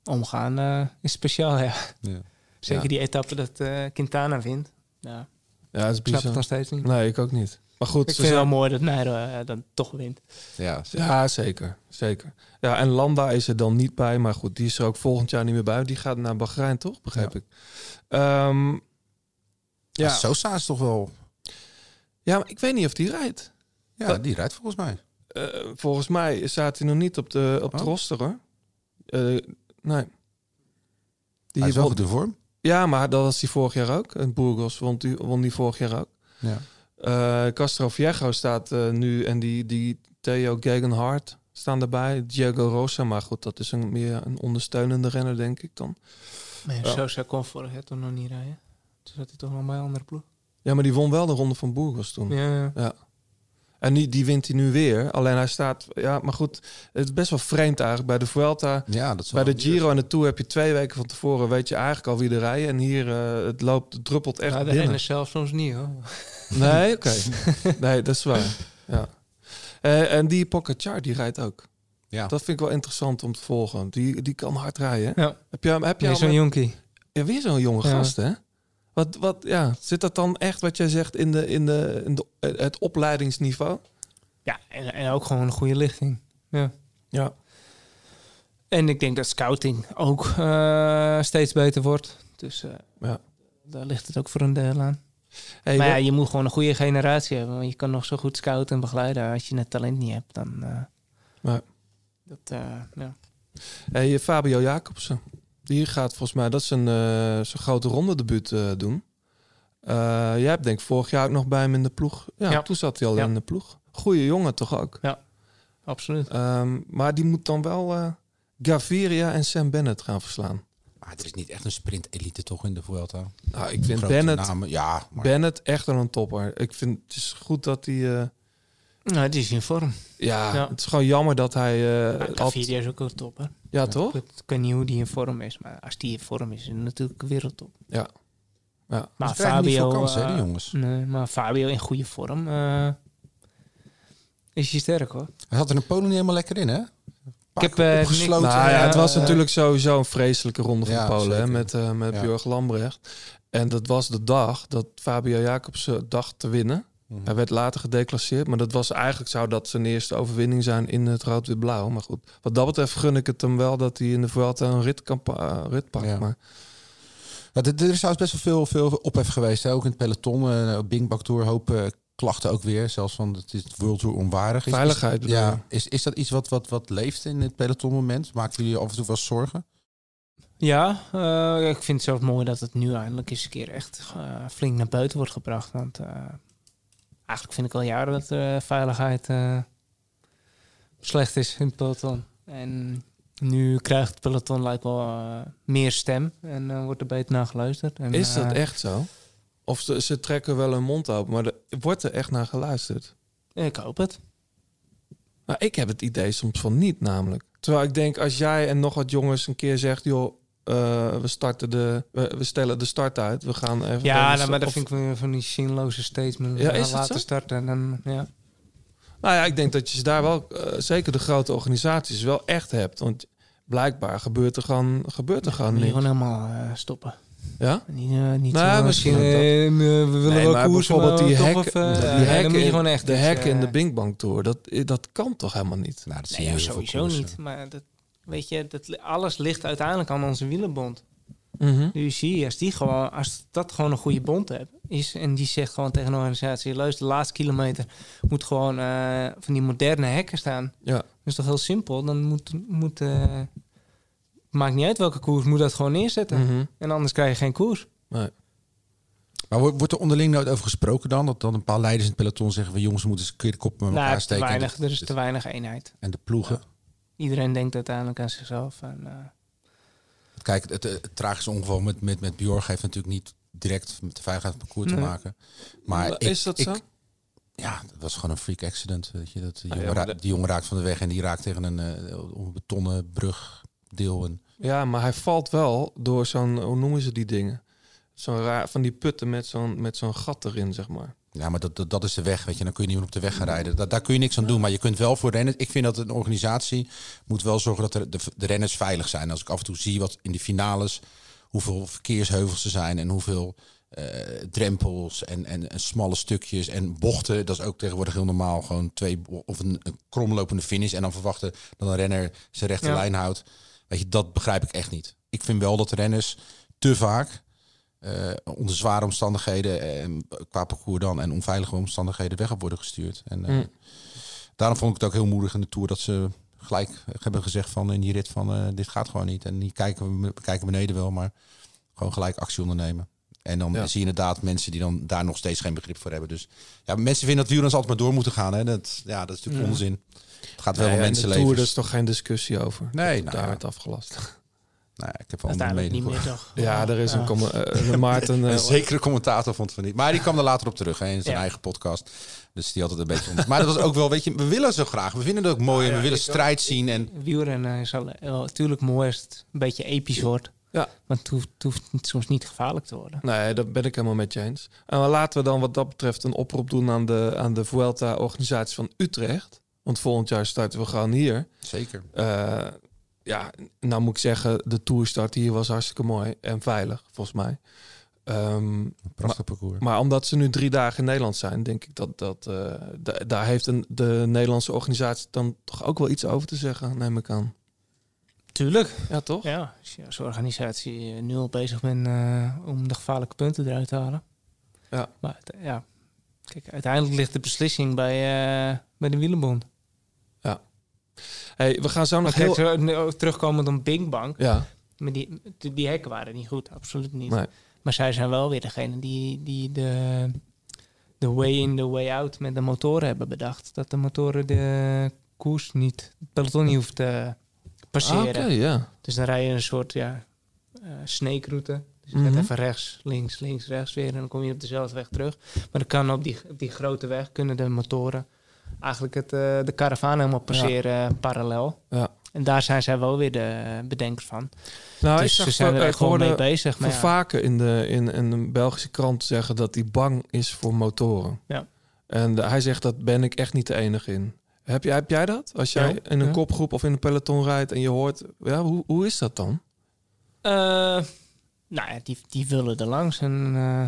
omgaan, eh, is speciaal, ja.
Ja.
Zeker
Ja.
die etappe dat eh, Quintana wint. Ja, ik
ja, het is
snap het nog
bizar.
steeds niet.
Nee, ik ook niet. Maar goed, ze
ik vind het wel
zijn-
mooi dat Nairo eh, dan toch wint.
Ja,
Ja, zeker. zeker. Ja, en Landa is er dan niet bij. Maar goed, die is er ook volgend jaar niet meer bij. Die gaat naar Bahrein, toch? Begrijp ik. Ehm,
ja.
ja.
Sosa is toch wel...
ja, maar ik weet niet of die rijdt.
Ja, die rijdt volgens mij.
Eh, volgens mij staat hij nog niet op de, op de
Oh.
roster, hoor. Eh, nee. Die
Hij is wel
won-
goed in vorm.
ja, maar dat was hij vorig jaar ook. En Burgos won die, won die vorig jaar ook.
Ja.
Eh, Castro Viejo staat eh, nu en die, die Theo Gegenhardt staan erbij. Diego Rosa, maar goed, dat is een, meer een ondersteunende renner, denk ik dan.
Maar
Ja.
Sosa kon vorig jaar toch nog niet rijden. Toen zat hij toch nog bij een andere ploeg.
Ja, maar die won wel de ronde van Burgos toen.
Ja,
En die, die wint hij nu weer. Alleen hij staat... Ja, maar goed, het is best wel vreemd eigenlijk. Bij de Vuelta,
Ja, dat is
bij
wel-
de Giro en de Tour heb je twee weken van tevoren... weet je eigenlijk al wie er rijden. En hier, eh, het loopt, het druppelt echt
Nou, de
binnen.
ene zelf soms niet, hoor.
Nee, oké. nee, dat is waar. Ja. Eh, en die Pogacar, die rijdt ook.
Ja.
Dat vind ik wel interessant om te volgen. Die, die kan hard rijden. hè?
Ja.
Heb je, hem- heb je
Nee,
al
zo'n
met-
jonkie.
ja, weer zo'n jonge
Ja.
gast, hè? Wat, wat, ja, zit dat dan echt, wat jij zegt, in, de, in, de, in de, het opleidingsniveau?
Ja, en, en ook gewoon een goede lichting. Ja.
Ja.
En ik denk dat scouting ook eh, steeds beter wordt. Dus eh,
Ja.
daar ligt het ook voor een deel aan.
Hey,
maar ja,
wat-
je moet gewoon een goede generatie hebben. Want je kan nog zo goed scouten en begeleiden. Als je het talent niet hebt, dan... eh,
Ja.
dat, eh, ja.
hey, eh, Fabio Jacobsen. Die gaat volgens mij, dat is een eh, zijn grote ronde debuut doen. Eh, jij hebt denk ik vorig jaar ook nog bij hem in de ploeg. Ja,
Ja.
toen zat hij al
Ja.
in de ploeg. Goeie jongen toch ook.
Absoluut.
Ehm, maar die moet dan wel eh, Gaviria en Sam Bennett gaan verslaan.
Maar het is niet echt een sprint-elite toch in de Vuelta?
Nou, ik vind
Grote
Bennett,
namen, Ja, maar
Bennett echt wel een topper. Ik vind het is goed dat hij. eh,
Nou, die is in vorm.
ja,
Ja.
het is gewoon jammer dat hij. eh,
Maar
al-
Gaviria is ook een top, hè?
ja, toch?
Ik, weet- ik weet niet hoe die in vorm is. Maar als die in vorm is, is het natuurlijk een wereldtop.
Ja. Ja.
Maar
Ze krijgen
Fabio...
niet veel kansen, hè,
eh,
die jongens.
Nee, maar Fabio in goede vorm... eh, is je sterk, hoor.
Hij zat er in Polen niet helemaal lekker in, hè?
Ik heb, eh,
opgesloten.
niks-
Nou ja, het was
eh,
natuurlijk sowieso een vreselijke ronde van
Ja,
Polen hè,
zeker.
met, eh, met
Ja.
Björg Lambrecht. En dat was de dag dat Fabio Jacobsen dacht te winnen.
Mhm.
Hij werd later gedeclasseerd, maar dat was eigenlijk zou dat zijn eerste overwinning zijn in het rood-wit-blauw. Maar goed, wat dat betreft gun ik het hem wel dat hij in de Vuelta een rit, kan pa- eh, rit pakt.
Ja.
Maar
Ja, er er is trouwens best wel veel, veel ophef geweest. Hè? Ook in het peloton. eh Bing Bak Tour, hoop eh, klachten ook weer. Zelfs van het is World Tour onwaardig. Is,
veiligheid,
Is,
bedoel je?
ja, is, is dat iets wat, wat, wat leeft in het peloton moment? Maken jullie af en toe wel zorgen?
Ja, eh, ik vind het zelf mooi dat het nu eindelijk eens een keer echt eh, flink naar buiten wordt gebracht. Want eh, eigenlijk vind ik al jaren dat eh, veiligheid eh, slecht is in het peloton. En nu krijgt het peloton lijkt wel eh, meer stem en eh, wordt er beter naar geluisterd. En,
Is dat
eh,
echt zo? Of ze, ze trekken wel hun mond open, maar er wordt er echt naar geluisterd?
Ik hoop het.
Nou, ik heb het idee soms van niet, namelijk. Terwijl ik denk, als jij en nog wat jongens een keer zegt... joh, eh, we, starten de, we, we stellen de start uit, we gaan even...
Ja,
even-
nou, maar dat
of-
vind ik weer van die zinloze statements.
Ja,
Ja,
is het
laten
zo?
starten en dan, ja.
Nou ja, ik denk dat je ze daar wel, eh, zeker de grote organisaties, wel echt hebt. Want blijkbaar gebeurt er gewoon, gebeurt er gewoon
Moet je
niks.
gewoon helemaal eh, stoppen.
Ja?
Niet, eh, niet
Nou,
zo,
misschien
eh,
ook dat.
eh, we willen
Nee,
wel
maar
koersen,
bijvoorbeeld
maar
die
toch
hek-
even, eh,
die
ja,
hekken
dan moet je
in-
gewoon echt
de
iets,
hekken in
eh,
de Bing Bang Tour, dat, dat kan toch helemaal niet?
Nou, dat zie
Nee,
je
ja,
heel veel
sowieso
koersen.
niet. Maar dat, weet je, dat, li- alles ligt uiteindelijk aan onze wielenbond.
Mhm.
De UCI, als, die gewoon, als dat gewoon een goede bond heb, is en die zegt gewoon tegen de organisatie: luister, de laatste kilometer moet gewoon eh, van die moderne hekken staan.
Ja.
Dat is toch heel simpel? Dan moet. moet eh, maakt niet uit welke koers, moet dat gewoon neerzetten.
Mhm.
En anders krijg je geen koers.
Nee.
Maar wordt, wordt er onderling nooit over gesproken dan? Dat dan een paar leiders in het peloton zeggen van jongens, we moeten eens een keer de kop met elkaar
Nou, te
steken.
weinig,
en,
er is
de,
te weinig eenheid.
en de ploegen.
Iedereen denkt uiteindelijk aan zichzelf. En, eh,
Kijk, het, eh, het tragische ongeval met, met, met Bjorg heeft natuurlijk niet direct met de veiligheid van het parcours
Nee.
te maken. Maar ik-
is dat
ik-
zo?
Ja, dat was gewoon een freak accident. Weet je, dat die,
Ah, ja,
jongen
maar
ra-
de-
die jongen raakt van de weg en die raakt tegen een, eh, op een betonnen brugdeel. En,
Ja, maar hij valt wel door zo'n, hoe noemen ze die dingen? Zo'n raar, van die putten met zo'n, met zo'n gat erin, zeg maar.
ja, maar dat, dat, dat is de weg, weet je. Dan kun je niet meer op de weg gaan rijden. Da- daar kun je niks aan doen. Maar je kunt wel voor renners... Ik vind dat een organisatie moet wel zorgen dat er de, de renners veilig zijn. Als ik af en toe zie wat in de finales... hoeveel verkeersheuvels er zijn en hoeveel eh, drempels en, en, en smalle stukjes en bochten. Dat is ook tegenwoordig heel normaal. Gewoon twee bo- of een, een kromlopende finish en dan verwachten dat een renner zijn rechte
Ja.
lijn houdt. Weet je, dat begrijp ik echt niet. Ik vind wel dat renners te vaak eh, onder zware omstandigheden en qua parcours dan en onveilige omstandigheden weg op worden gestuurd. En eh,
Mm.
daarom vond ik het ook heel moedig in de tour dat ze gelijk hebben gezegd van in die rit van eh, dit gaat gewoon niet. En die kijken, we kijken beneden wel, maar gewoon gelijk actie ondernemen. En dan
Ja.
zie je inderdaad mensen die dan daar nog steeds geen begrip voor hebben. Dus ja, mensen vinden dat wielrenners altijd maar door moeten gaan. Hè. Dat, ja, dat is natuurlijk onzin. Het gaat wel
Mm. Nee,
om
en de
mensenlevens.
Tour, daar is toch geen discussie over?
Nee,
Dat
nou
daar
ja.
werd afgelast.
Nou ja, ik heb wel een
uiteindelijk
mening.
niet meer
hoor.
toch?
Ja, er is
Ja.
een comma- eh, een Maarten... eh,
Een zekere commentator vond van niet. Maar die kwam er later op terug hè, in zijn
Ja.
eigen podcast. Dus die had het een beetje onder. Maar dat was ook wel, weet je, we willen zo graag. We vinden het ook mooi en we willen strijd zien. En
Wielrennen is al- eh, natuurlijk mooi als het een beetje episch wordt.
Ja.
Want het hoeft, het hoeft niet- soms niet gevaarlijk te worden.
Nee, dat ben ik helemaal met je eens. En laten we dan wat dat betreft een oproep doen aan de, aan de Vuelta-organisatie van Utrecht. Want volgend jaar starten we gewoon hier.
zeker.
Eh, ja, nou moet ik zeggen, de toerstart hier was hartstikke mooi en veilig, volgens mij. Ehm,
Een prachtig parcours.
maar omdat ze nu drie dagen in Nederland zijn, denk ik dat, dat eh, da- daar heeft een, de Nederlandse organisatie dan toch ook wel iets over te zeggen, neem ik aan.
Tuurlijk.
Ja, toch?
Ja, als je als organisatie eh, nu al bezig bent eh, om de gevaarlijke punten eruit te halen.
Ja.
Maar het- ja, kijk, uiteindelijk ligt de beslissing bij, eh, bij de wielenbond.
Hey, we gaan zo nog
Maar
heel...
kijk, zo, nu ook terugkomend op Bing Bang,
Ja, Ah,
maar die, die, die hekken waren niet goed, absoluut niet.
Nee.
Maar zij zijn wel weer degene die, die de, de way in, de way out met de motoren hebben bedacht. Dat de motoren de koers niet, het peloton niet hoeft te
Ah,
passeren.
oké, ja.
Dus dan rij je een soort ja, eh snake route. Dus je
Mhm.
gaat even rechts, links, links, rechts weer. En dan kom je op dezelfde weg terug. Maar dan kan op die, op die grote weg kunnen de motoren eigenlijk het, eh, de karavaan helemaal passeren eh, parallel.
Ja.
En daar zijn zij wel weer de eh, bedenkers van.
Nou,
dus
ik
ze
zag
zijn
wel-
er
ik
echt gewoon mee
hoorde
bezig. Maar
Van
ja,
vaker in, de, in, in een Belgische krant zeggen dat hij bang is voor motoren.
Ja.
En de- hij zegt, dat ben ik echt niet de enige in. Heb jij, heb jij dat? Als jij
Ja,
in een
ja.
kopgroep of in een peloton rijdt en je hoort... Ja, hoe, hoe is dat dan?
Eh, nou ja, die, die willen er langs. En, eh,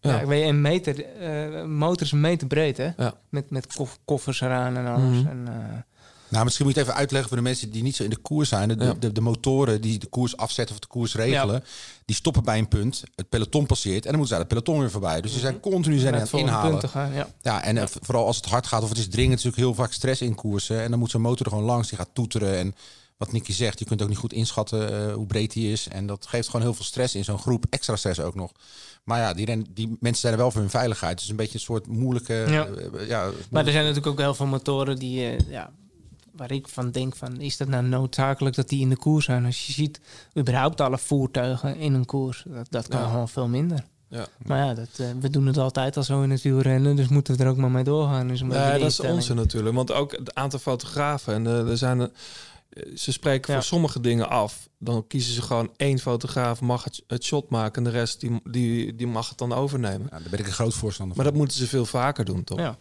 Ja.
ja. ik weet, een meter, eh, een motor is een meter breed, hè?
Ja.
Met, met kof- koffers eraan en alles.
Mhm.
En, eh,
Nou, misschien moet je het even uitleggen voor de mensen die niet zo in de koers zijn. De,
Ja.
de, de motoren die de koers afzetten of de koers regelen, die stoppen bij een punt. Het peloton passeert en dan moeten ze daar het peloton weer voorbij. Dus ze
Mhm.
zijn continu zijn aan
naar het
het
volgende
inhalen.
punt te gaan, ja.
Ja, en eh, v- vooral als het hard gaat of het is dringend, natuurlijk heel vaak stress in koersen. En dan moet zo'n motor er gewoon langs, die gaat toeteren. En wat Nicky zegt, je kunt ook niet goed inschatten eh, hoe breed die is. En dat geeft gewoon heel veel stress in zo'n groep, extra stress ook nog. Maar ja, die, ren, die mensen zijn er wel voor hun veiligheid. Het is een beetje een soort moeilijke...
Ja.
eh, ja,
Maar er zijn natuurlijk ook heel veel motoren die, eh, ja, waar ik van denk van, is dat nou noodzakelijk dat die in de koers zijn? Als je ziet, überhaupt alle voertuigen in een koers, dat, dat kan
Ja.
gewoon veel minder.
Ja.
Maar ja, dat, eh, we doen het altijd al zo in het wielrennen, dus moeten we er ook maar mee doorgaan. Dus
Nee, dat is onzin natuurlijk. Want ook het aantal fotografen. En eh, er zijn, eh, ze spreken
Ja.
voor sommige dingen af. Dan kiezen ze gewoon één fotograaf mag het, het shot maken. En de rest die, die, die mag het dan overnemen.
ja, nou, daar ben ik een groot voorstander
Maar
van.
dat moeten ze veel vaker doen, toch?
Ja.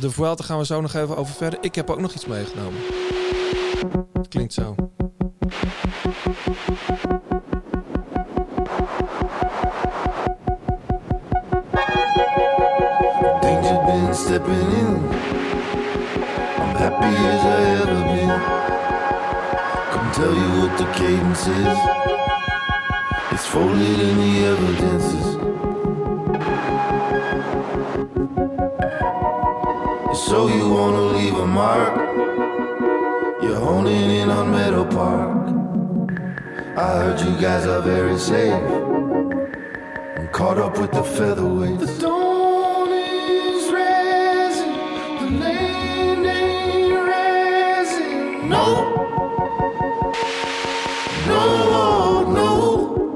De Vuelta gaan we zo nog even over verder. Ik heb ook nog iets meegenomen. Het klinkt zo.
Danger been stepping in.
I'm happy as I ever been. Come tell you what the cadence is. It's folded in the evidences. So you wanna leave a mark? You're honing in on Meadow Park. I heard you guys are very safe. I'm caught up with the featherweights. The dawn is rising. The land ain't rising. No. No, no.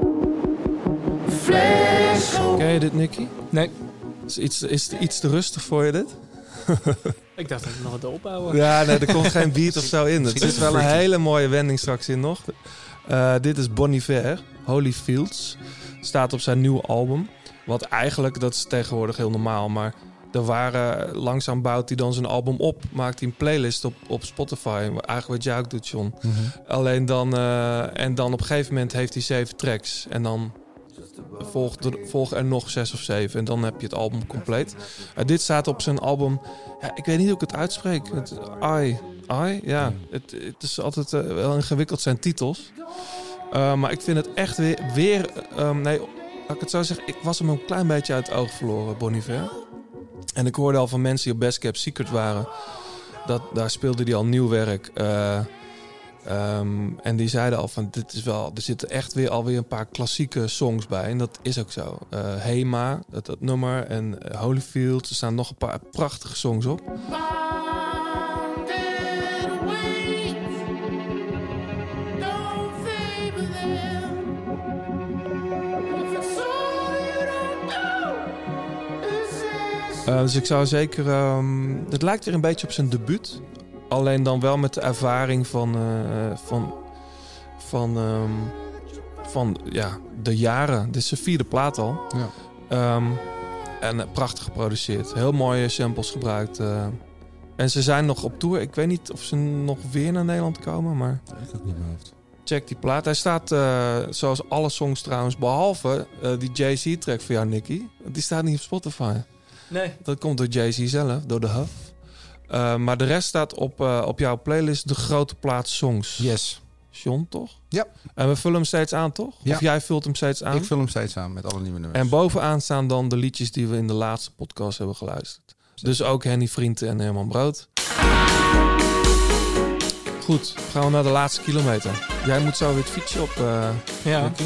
Flash.
Ken je dit, Nicky?
Nee,
Is, iets, is het iets te rustig voor je dit?
ik dacht dat ik nog wat opbouwen.
Ja, nee, er komt geen beat of zo in. Er zit wel een hele mooie wending straks in nog. Eh, dit is Bon Iver, Holy Fields. Staat op zijn nieuwe album. Wat eigenlijk, dat is tegenwoordig heel normaal, maar... Er waren, langzaam bouwt hij dan zijn album op. Maakt hij een playlist op, op Spotify. Eigenlijk wat jij ook doet, John.
Mhm.
Alleen dan... eh, en dan op een gegeven moment heeft hij zeven tracks. En dan volgt er, volgen er nog zes of zeven. En dan heb je het album compleet. Eh, dit staat op zijn album ja, ik weet niet hoe ik het uitspreek. Het, I. I? Ja. Het, het is altijd eh, wel ingewikkeld zijn titels. Eh, maar ik vind het echt weer... weer ehm, nee, laat ik het zo zeggen. Ik was hem een klein beetje uit het oog verloren, Bon Iver. En ik hoorde al van mensen die op Best Cap Secret waren... Dat, daar speelde hij al nieuw werk. Eh, ehm, en die zeiden al van... Dit is wel, er zitten echt weer alweer een paar klassieke songs bij. En dat is ook zo. Eh, Hema, dat, dat nummer. En eh, Holyfield. Er staan nog een paar prachtige songs op. Eh, dus ik zou zeker. ehm, het lijkt er een beetje op zijn debuut. Alleen dan wel met de ervaring van. eh, van, van, ehm, van ja, de jaren. Dit is zijn vierde plaat al.
Ja.
Ehm, en eh, prachtig geproduceerd. Heel mooie samples gebruikt. eh. en ze zijn nog op tour. Ik weet niet of ze nog weer naar Nederland komen. Maar
Ik ook niet in mijn hoofd.
check die plaat. Hij staat, eh, zoals alle songs trouwens, behalve eh, die Jay-Z-track van jou, Nicky. Die staat niet op Spotify.
Nee.
Dat komt door Jay-Z zelf, door de Huff. Eh, maar de rest staat op, eh, op jouw playlist de grote plaat songs.
Yes.
John, toch?
Ja.
En we vullen hem steeds aan, toch?
Ja.
Of jij vult hem steeds aan?
Ik vul hem steeds aan met alle nieuwe nummers.
En bovenaan staan dan de liedjes die we in de laatste podcast hebben geluisterd. Dus ook Henny Vrienden en Herman Brood. Goed, gaan we naar de laatste kilometer. Jij moet zo weer het fietsje op, eh,
Ja,
Nicky.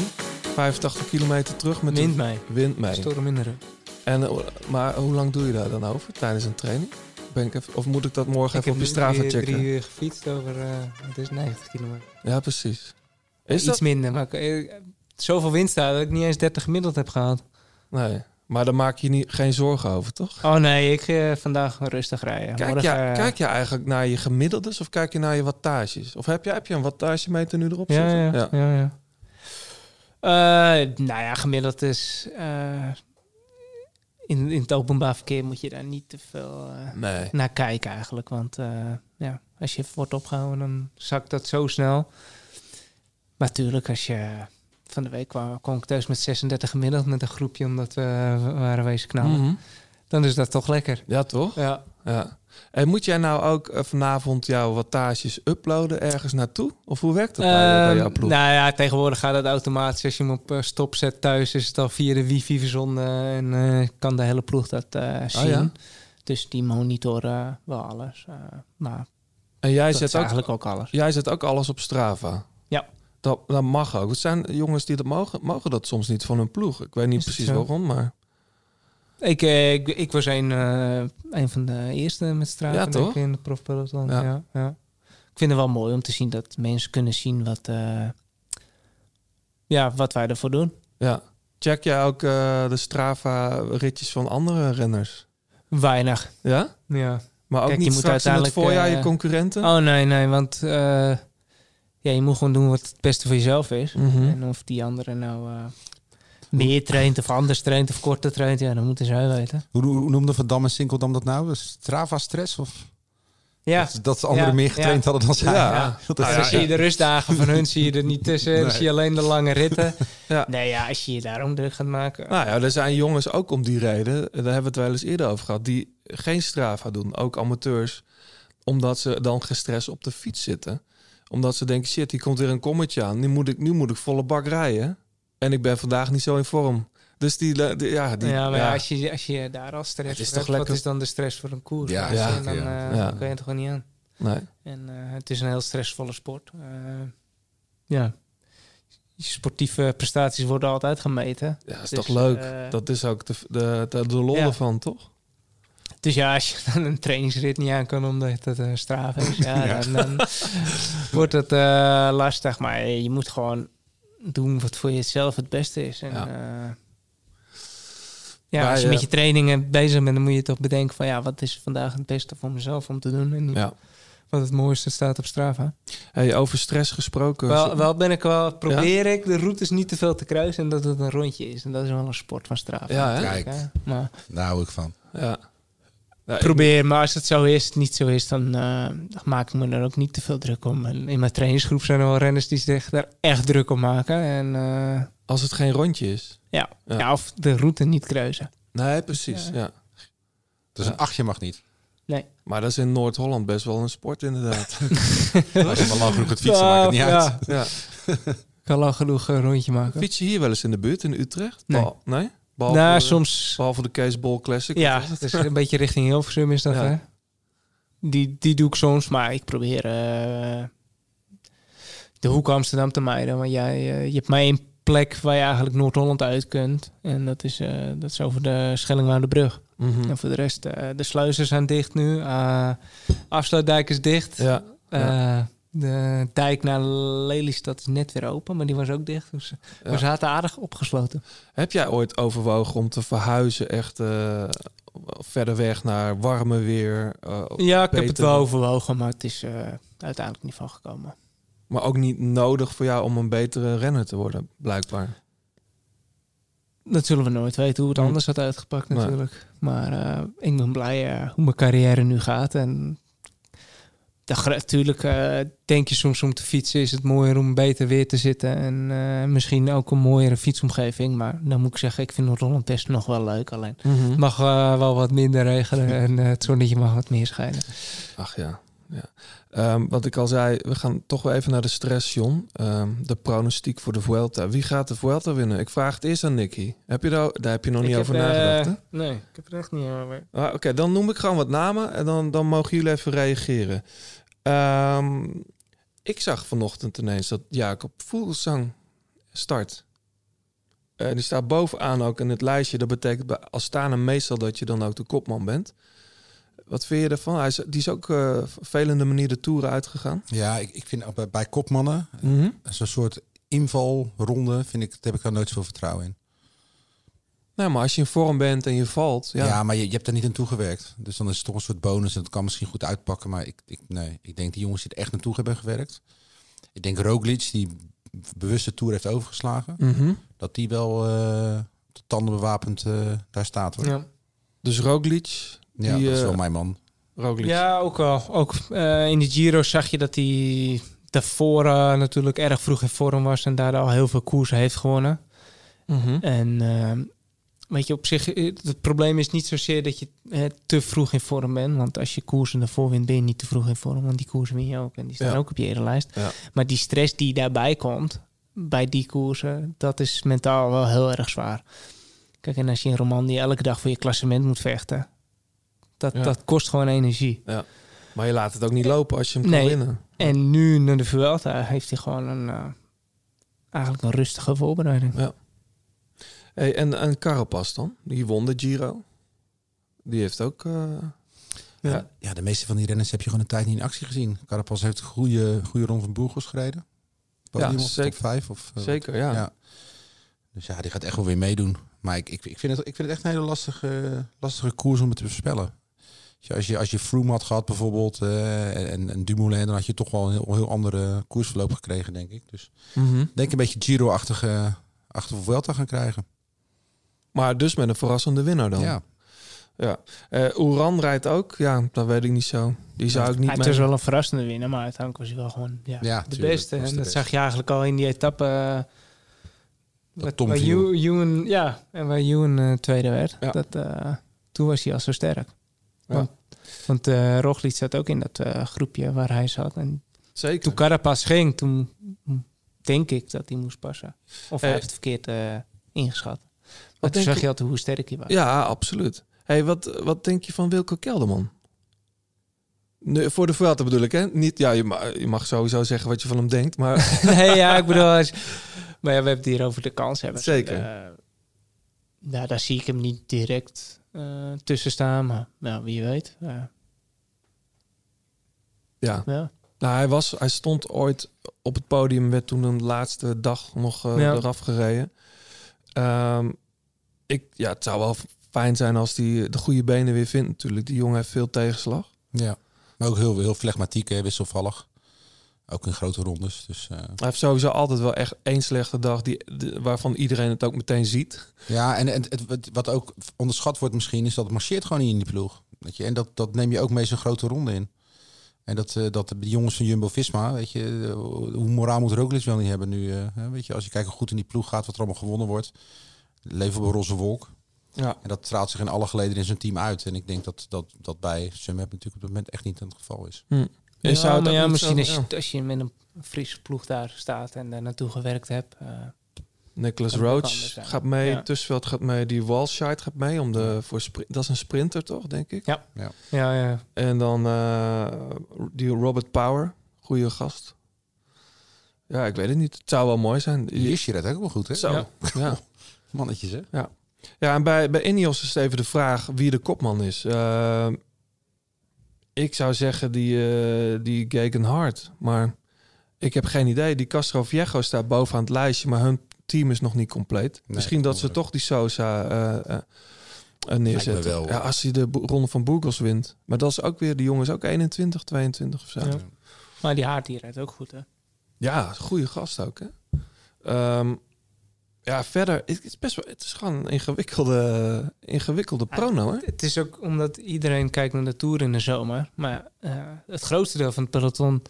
85 kilometer terug met
wint
de
mij.
wind mee.
Storm minderen.
En, eh, maar hoe lang doe je daar dan over tijdens een training? Ben ik even, of moet ik dat morgen even op je Strava
drie,
checken?
drie uur gefietst over, eh, het is 90 kilometer.
Ja, precies. Is
Iets
dat?
minder, maar ik- eh, zoveel winst daar dat ik niet eens 30 gemiddeld heb gehaald.
Nee, maar daar maak je niet, geen zorgen over, toch?
Oh nee, ik eh, vandaag rustig rijden.
Kijk je,
Morgen, eh,
kijk je eigenlijk naar je gemiddeldes of kijk je naar je wattages? Of heb je, heb je een wattagemeter nu erop
Ja,
zitten?
ja, ja. ja, Eh, nou ja, gemiddeld is... eh, in, in het openbaar verkeer moet je daar niet te veel eh,
Nee.
naar kijken eigenlijk. Want eh, ja, als je wordt opgehouden, dan zakt dat zo snel. Maar natuurlijk, als je... eh, Van de week kwam, kwam ik thuis met 36 gemiddeld met een groepje... omdat we eh, waren wezen knallen.
Mhm.
Dan is dat toch lekker.
Ja, toch?
Ja.
Ja. En moet jij nou ook eh, vanavond jouw wattages uploaden ergens naartoe? Of hoe werkt dat bij, bij jouw
Ehm,
ploeg?
nou ja, tegenwoordig gaat dat automatisch. Als je hem op eh, stop zet thuis, is het al via de wifi verzonden. En eh, kan de hele ploeg dat eh, zien.
Oh, ja?
Dus die monitoren wel alles. Eh maar
en jij
dat is
zet, ook,
eigenlijk ook alles.
jij zet ook alles op Strava?
Ja.
Dat, dat mag ook. Het zijn jongens die dat mogen, mogen dat soms niet van hun ploeg. Ik weet niet
Is het
precies
zo?
waarom, maar...
Ik, eh, ik, ik was een, eh, een van de eerste met straat
Ja, toch?
in de profpeloton.
Ja.
Ja. Ja, Ik vind het wel mooi om te zien dat mensen kunnen zien wat, eh, ja, wat wij ervoor doen.
Ja. Check jij ook eh, de Strava-ritjes van andere renners?
Weinig.
Ja?
Ja.
Maar ook
Kijk, je
niet
moet
straks in het
uiteindelijk,
voorjaar
eh,
je concurrenten?
Oh nee, nee, want eh, ja, je moet gewoon doen wat het beste voor jezelf is.
Mhm.
En of die andere nou eh, meer traint of anders traint of korter traint, ja, dan moeten zij weten.
Hoe, hoe noemde Van Dam en Sinkeldam dat nou? Strava stress? Of
Ja.
dat, dat anderen
Ja,
meer getraind hadden dan zij?
Ah. Ja.
Dat
Dus dan zie je de rustdagen van hun zie je er niet tussen. Dan
Nee.
zie je alleen de lange ritten.
Ja.
Nee, ja, als je je daarom druk gaat maken.
Nou ja, er zijn jongens ook eh, om die reden, daar hebben we het wel eens eerder over gehad, die geen Strava doen, ook amateurs. Omdat ze dan gestrest op de fiets zitten. Omdat ze denken, shit, hier komt weer een kommetje aan. Nu moet ik, nu moet ik volle bak rijden. En ik ben vandaag niet zo in vorm. Dus die, le- die- ja, die,
ja, maar
ja.
Als, je, als je daar al stress
Het is
voor
toch
hebt, wat
lekker-
is dan de stress voor een koers?
Ja,
Weet je,
ja,
en dan
ja.
eh,
Ja.
kan je het gewoon niet aan.
Nee.
En eh, het is een heel stressvolle sport. Eh, ja. Je Sportieve prestaties worden altijd gemeten.
Ja, is
Dus,
toch leuk.
eh,
dat is ook de, de, de, de lol
Ja.
ervan, toch?
Dus ja, als je dan een trainingsrit niet aan kan omdat het een straf is, ja, Dan, dan wordt het eh, lastig. Maar je moet gewoon doen wat voor jezelf het beste is. En,
Ja.
ja. ja,
Maar,
als je
eh,
met je trainingen bezig bent, dan moet je toch bedenken van ja, wat is vandaag het beste voor mezelf om te doen en niet
Ja.
wat het mooiste staat op Strava.
Hey, over stress gesproken.
Wel, wel ben ik wel, probeer ik de routes niet te veel te kruisen en dat het een rondje is. En dat is wel een sport van Strava.
Ja, hè?
natuurlijk,
Kijk.
hè. Maar,
Daar hou ik van.
Ja. Ja, ik-
probeer, maar als het zo is, niet zo is, dan eh, maak ik me er ook niet te veel druk om. En in mijn trainingsgroep zijn er wel renners die zich daar echt druk om maken. En eh,
Als het geen rondje is.
ja.
Ja.
Ja. of de route niet kruisen.
Nee, precies. Ja.
Dus een achtje mag niet.
Maar dat is in Noord-Holland best wel een sport, inderdaad.
Als je maar lang genoeg het fietsen, maakt het niet
Ja,
uit.
ja.
Ik kan lang genoeg een rondje maken.
Fiets je hier wel eens in de buurt, in Utrecht?
Nee.
Behal- nee? Behalve,
eh,
Nou, soms.
behalve de Kees Bol Classic.
Ja, het is een beetje richting Hilversum is dat,
Ja.
hè? Die, die doe ik soms, maar ik probeer eh, de hoek Amsterdam te mijden. Want jij, eh, je hebt maar één plek waar je eigenlijk Noord-Holland uit kunt. En dat is, eh, dat is over de Schellingwoudebrug.
Mhm.
En voor de rest, eh, de sluizen zijn dicht nu. eh afsluitdijk is dicht.
ja.
Eh, de dijk naar Lelystad is net weer open, maar die was ook dicht. Dus
Ja.
we zaten aardig opgesloten.
Heb jij ooit overwogen om te verhuizen echt eh, verder weg naar warmer weer? eh,
Ja, ik heb het
beter
wel
dan-
overwogen, maar het is eh, uiteindelijk niet van gekomen.
Maar ook niet nodig voor jou om een betere renner te worden, blijkbaar.
Dat zullen we nooit weten hoe het
Hm.
anders had uitgepakt
Nee.
natuurlijk. Maar eh, ik ben blij eh, hoe mijn carrière nu gaat. En natuurlijk eh, denk je soms om te fietsen is het mooier om beter weer te zitten. En eh, misschien ook een mooiere fietsomgeving. Maar dan moet ik zeggen, ik vind Noord-Holland best nog wel leuk. Alleen het mag eh, wel wat minder regenen en eh, het zonnetje mag wat meer schijnen.
Ach ja. ja. Ehm, wat ik al zei, we gaan toch wel even naar de stress, John. Ehm, de pronostiek voor de Vuelta. Wie gaat de Vuelta winnen? Ik vraag het eerst aan Nicky. Heb je daar, daar heb je nog niet over nagedacht, hè?
eh, nee, ik heb er echt niet over.
Ah, Oké, dan noem ik gewoon wat namen en dan, dan mogen jullie even reageren. Ehm, ik zag vanochtend ineens dat Jacob Voelsang start. Eh, die staat bovenaan ook in het lijstje. Dat betekent bij Astana meestal dat je dan ook de kopman bent. Wat vind je ervan? Hij is, die is ook eh, op vervelende manier de toeren uitgegaan.
Ja, ik, ik vind ook bij, bij kopmannen zo'n soort invalronde, vind ik, daar heb ik daar nooit zoveel vertrouwen in.
Nou, maar als je in vorm bent en je valt... Ja,
Ja, maar je, je hebt er niet aan toegewerkt. Dus dan is het toch een soort bonus en dat kan misschien goed uitpakken. Maar ik, ik, nee, ik denk die jongens die er echt naartoe hebben gewerkt. Ik denk Roglic, die bewuste toer heeft overgeslagen,
Mhm.
dat die wel eh de tanden bewapend eh, daar staat. Hoor. Ja,
Ja.
Dus Roglic... die,
dat is wel
eh,
mijn man.
Roglic.
Ja, ook wel. Ook eh, in de Giro zag je dat hij daarvoor eh, natuurlijk erg vroeg in vorm was en daar al heel veel koersen heeft gewonnen.
Mhm.
En ehm, weet je, op zich, eh, het probleem is niet zozeer dat je eh, te vroeg in vorm bent. Want als je koersen daarvoor wint, ben je niet te vroeg in vorm. Want die koersen win je ook en die staan
Ja.
ook op je erenlijst.
Ja.
Maar die stress die daarbij komt, bij die koersen, dat is mentaal wel heel erg zwaar. Kijk, en als je in Romandie elke dag voor je klassement moet vechten, dat,
Ja.
dat kost gewoon energie.
Maar je laat het ook niet lopen als je hem kan
Eh, Nee.
winnen.
En nu naar de Vuelta heeft hij gewoon een, eh, eigenlijk een rustige voorbereiding.
Hey, en, en Carapaz dan? Die won de Giro. Die heeft ook... eh, ja.
Ja, de meeste van die renners heb je gewoon een tijd niet in actie gezien. Carapaz heeft een goede, goede rond van Burgos gereden. Podium of
zeker.
top 5 of eh,
Zeker, ja.
Ja. Dus ja, die gaat echt wel weer meedoen. Maar ik, ik, ik, vind, het, ik vind het echt een hele lastige, lastige koers om het te voorspellen. Als je- Als je, als je Froome had gehad bijvoorbeeld eh, en, en Dumoulin... dan had je toch wel een heel, heel andere koersverloop gekregen, denk ik. Dus
Mhm.
ik denk een beetje Giro-achtige achter Vuelta gaan krijgen.
Maar dus met een verrassende winnaar dan.
Ja,
Eh, Oeran rijdt ook. Ja, dat weet ik niet zo. Die zou ik niet
Hij
mee-
het was wel een verrassende winnaar, maar uiteindelijk was hij wel gewoon ja,
Ja,
de
tuurlijk,
beste.
was de
En dat
beste.
zag je eigenlijk al in die etappe. eh, wat-
Tom
waar
viel.
Ewan- Ewan- ja, en waar Ewan eh, tweede werd.
Ja.
Dat, eh, toen was hij al zo sterk.
Ja.
Want Want eh Roglic zat ook in dat eh, groepje waar hij zat. En
Zeker.
toen Carapaz ging, toen denk ik dat hij moest passen. Of
Eh.
hij heeft het verkeerd eh, ingeschat. Maar
Wat
toen
denk
zag
je-
je altijd hoe sterk hij was.
Ja, absoluut. Hey, wat, wat denk je van Wilco Kelderman? Nee, voor de Vuelta bedoel ik, hè? Niet, ja, je ma- je mag sowieso zeggen wat je van hem denkt, maar...
nee, ja, ik bedoel... als- maar ja, we hebben het hier over de kans hebben. Eh,
Zeker.
nou, daar zie ik hem niet direct eh, tussen staan. Maar nou, wie weet. Ja.
ja.
ja.
Nou, hij, was, hij stond ooit op het podium, werd toen een laatste dag nog eh,
Ja.
eraf gereden. Ehm, ik, ja, het zou wel f- fijn zijn als hij de goede benen weer vindt natuurlijk. Die jongen heeft veel tegenslag.
Ja. Maar ook heel, heel flegmatiek, hè, wisselvallig. Ook in grote rondes. Dus, eh,
Hij heeft sowieso altijd wel echt één slechte dag die, de- waarvan iedereen het ook meteen ziet.
Ja, en, en het, wat- wat ook onderschat wordt misschien, is dat het marcheert gewoon niet in die ploeg. Weet je? En dat, dat neem je ook mee zo'n grote ronde in. En dat, eh, dat de jongens van Jumbo-Visma, weet je, eh, hoe moraal moet Roglic wel niet hebben nu. eh, hè? weet je, als je kijkt hoe goed in die ploeg gaat, wat er allemaal gewonnen wordt. Leven op een roze wolk.
Ja.
En dat straalt zich in alle geleden in zijn team uit. En ik denk dat dat, dat bij Sunweb natuurlijk op dit moment echt niet het geval is.
Je zou het
maar
ook
Hm. ja,
niet
misschien
zo-
als, je,
ja.
als je met een Friese ploeg daar staat en daar naartoe gewerkt hebt. eh,
Nicholas
Dat kan
Roach
anders zijn.
gaat mee,
Ja.
Tussveld gaat mee, die Walshite gaat mee. Om de, voor spri- dat is een sprinter toch, denk ik?
ja, ja.
En dan eh, die Robert Power, goede gast. Ja, ik weet het niet. Het zou wel mooi zijn.
Die is je redt ook wel goed, hè?
Zo. Ja.
Ja.
Ja.
Mannetjes, hè?
en bij, bij Ineos is het even de vraag wie de kopman is. Eh, ik zou zeggen die, eh, die Gagan Hart. Maar ik heb geen idee. Die Castro Viejo staat bovenaan het lijstje, maar hun team is nog niet compleet. Misschien dat ze
behoorlijk.
toch die Sosa eh, eh, eh, neerzetten.
wel, hoor.
ja, als hij de bo- ronde van Burgos wint. Maar dat is ook weer, die jongen is ook 21, 22 of zo.
Ja. Maar die haard die rijdt ook goed, hè?
Ja, is een goede gast ook, hè? Ehm, ja, verder, het, het is best wel, het is gewoon een ingewikkelde, ingewikkelde prono, hè?
Het is ook omdat iedereen kijkt naar de Tour in de zomer. Maar eh, het grootste deel van het peloton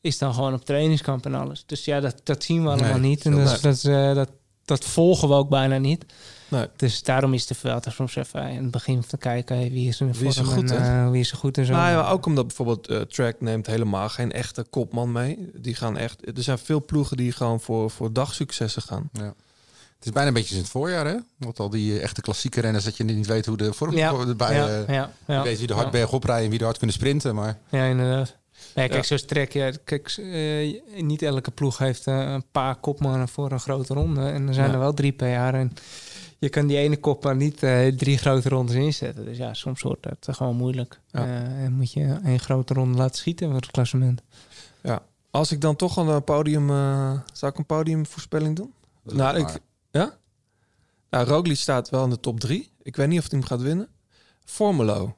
is dan gewoon op trainingskamp en alles. Dus ja, dat, dat zien we allemaal
Nee,
niet. En
heel
dat, is- dat, is, eh, dat, dat volgen we ook bijna niet.
Nee.
Dus daarom is de Vuelta soms even in het begin te kijken... hey, wie is er in
Wie is er
vorm
goed,
en,
hè?
eh, wie is er goed en zo.
Nou ja, ook omdat bijvoorbeeld eh, Track neemt helemaal geen echte kopman mee. Die gaan echt, er zijn veel ploegen die gewoon voor, voor dagsuccessen gaan.
Het is bijna een beetje in het voorjaar, hè? Want al die eh, echte klassieke renners, dat je niet weet hoe de vorm
Ja,
erbij...
ja,
eh,
ja, ja.
Je weet wie er hard
Ja.
berg oprijden en wie er hard kunnen sprinten. Maar
Ja, inderdaad. Nee, kijk,
Ja.
zo'n trek, ja, kijk, eh, niet elke ploeg heeft eh, een paar kopmannen voor een grote ronde. En er zijn
Ja.
er wel drie per jaar. En je kan die ene kopman niet eh, drie grote rondes inzetten. Dus ja, soms wordt dat eh, gewoon moeilijk.
Ja.
Eh, en moet je één grote ronde laten schieten voor het klassement.
Als ik dan toch al een podium, eh, zou ik een podiumvoorspelling doen? Nou, ik, ja? Nou, Roglic staat wel in de top drie. Ik weet niet of hij hem gaat winnen. Formelo.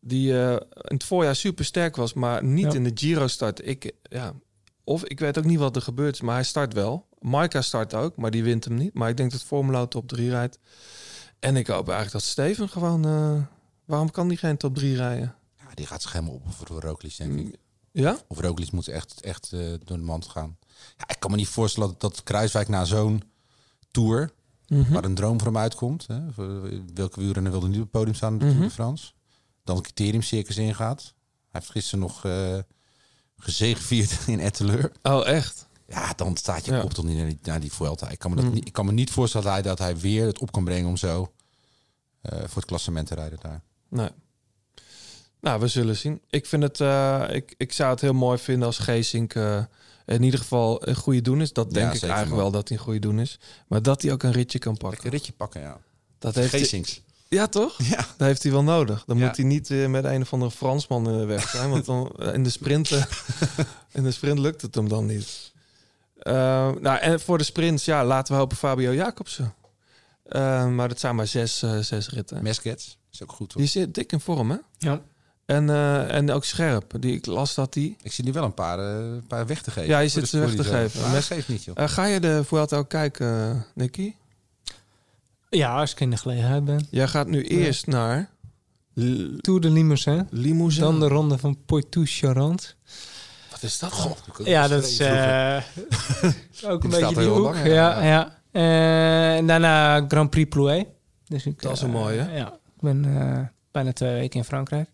Die eh, in het voorjaar super sterk was, maar niet
Ja.
in de Giro start. Ik, ja, of ik weet ook niet wat er gebeurt, is, maar hij start wel. Maika start ook, maar die wint hem niet. Maar ik denk dat Formelo top 3 rijdt. En ik hoop eigenlijk dat Steven gewoon... eh, waarom kan die geen top 3 rijden?
ja, die gaat zich helemaal op voor Roglic,
Mm.
denk ik.
Ja?
Of Roglic moet echt, echt eh, door de mand gaan. Ja, ik kan me niet voorstellen dat, dat Kruiswijk na zo'n tour,
Mhm.
waar een droom voor hem uitkomt... Hè, voor- welke wielrenner wilde niet op het podium staan in de
Mhm.
Tour de France... dan een criteriumcircus ingaat. Hij heeft gisteren nog eh gezegevierd in Etteleur.
Oh, echt?
Ja, dan staat je
Ja. Mm.
kop toch niet naar die, naar die Vuelta. Ik kan, me dat niet, ik kan me niet voorstellen dat hij, dat hij weer het op kan brengen om zo eh, voor het klassement te rijden daar.
Nee. Nou, we zullen zien. Ik, vind het, eh, ik, ik zou het heel mooi vinden als Geesink eh, in ieder geval een goede doen is. Dat denk ik
zeker,
eigenlijk wel
man.
dat hij een goede doen is. Maar dat hij ook een ritje kan
Lekker
pakken.
ritje pakken, ja.
Dat heeft hij-
Geesings.
ja, toch?
Ja.
Dat heeft hij wel nodig. Dan
Ja.
moet hij niet eh, met een of andere Fransman eh, weg zijn. Want dan, eh, in, de sprint, eh, in de sprint lukt het hem dan niet. Eh, nou, en voor de sprints, ja, laten we hopen Fabio Jacobsen. Eh, maar dat zijn maar zes, eh, zes ritten.
Meskets. Is ook goed, hoor.
Die zit dik in vorm, hè?
Ja.
En, eh, en ook scherp. Die, ik las dat die...
Ik zie nu wel een paar, eh, een paar weg te geven.
Ja, je
Voor
zit
de
ze weg te
scorereserve.
geven.
Maar
Mes-
dat geeft niet, joh.
Eh, ga je de Vuelta ook kijken, eh, Nicky?
Ja, als ik in de gelegenheid ben.
Jij gaat nu eerst naar L-
Tour de Limousin.
Limousin.
Dan de ronde van Poitou-Charentes.
Wat is dat? God,
Ja, dat is eh, ook een
staat
beetje
er
die
heel
hoek.
lang, ja.
ja, ja. Eh, en daarna Grand Prix Plouay. Dus ik,
Dat is
eh,
een mooie.
Ja, ik ben eh, bijna twee weken in Frankrijk.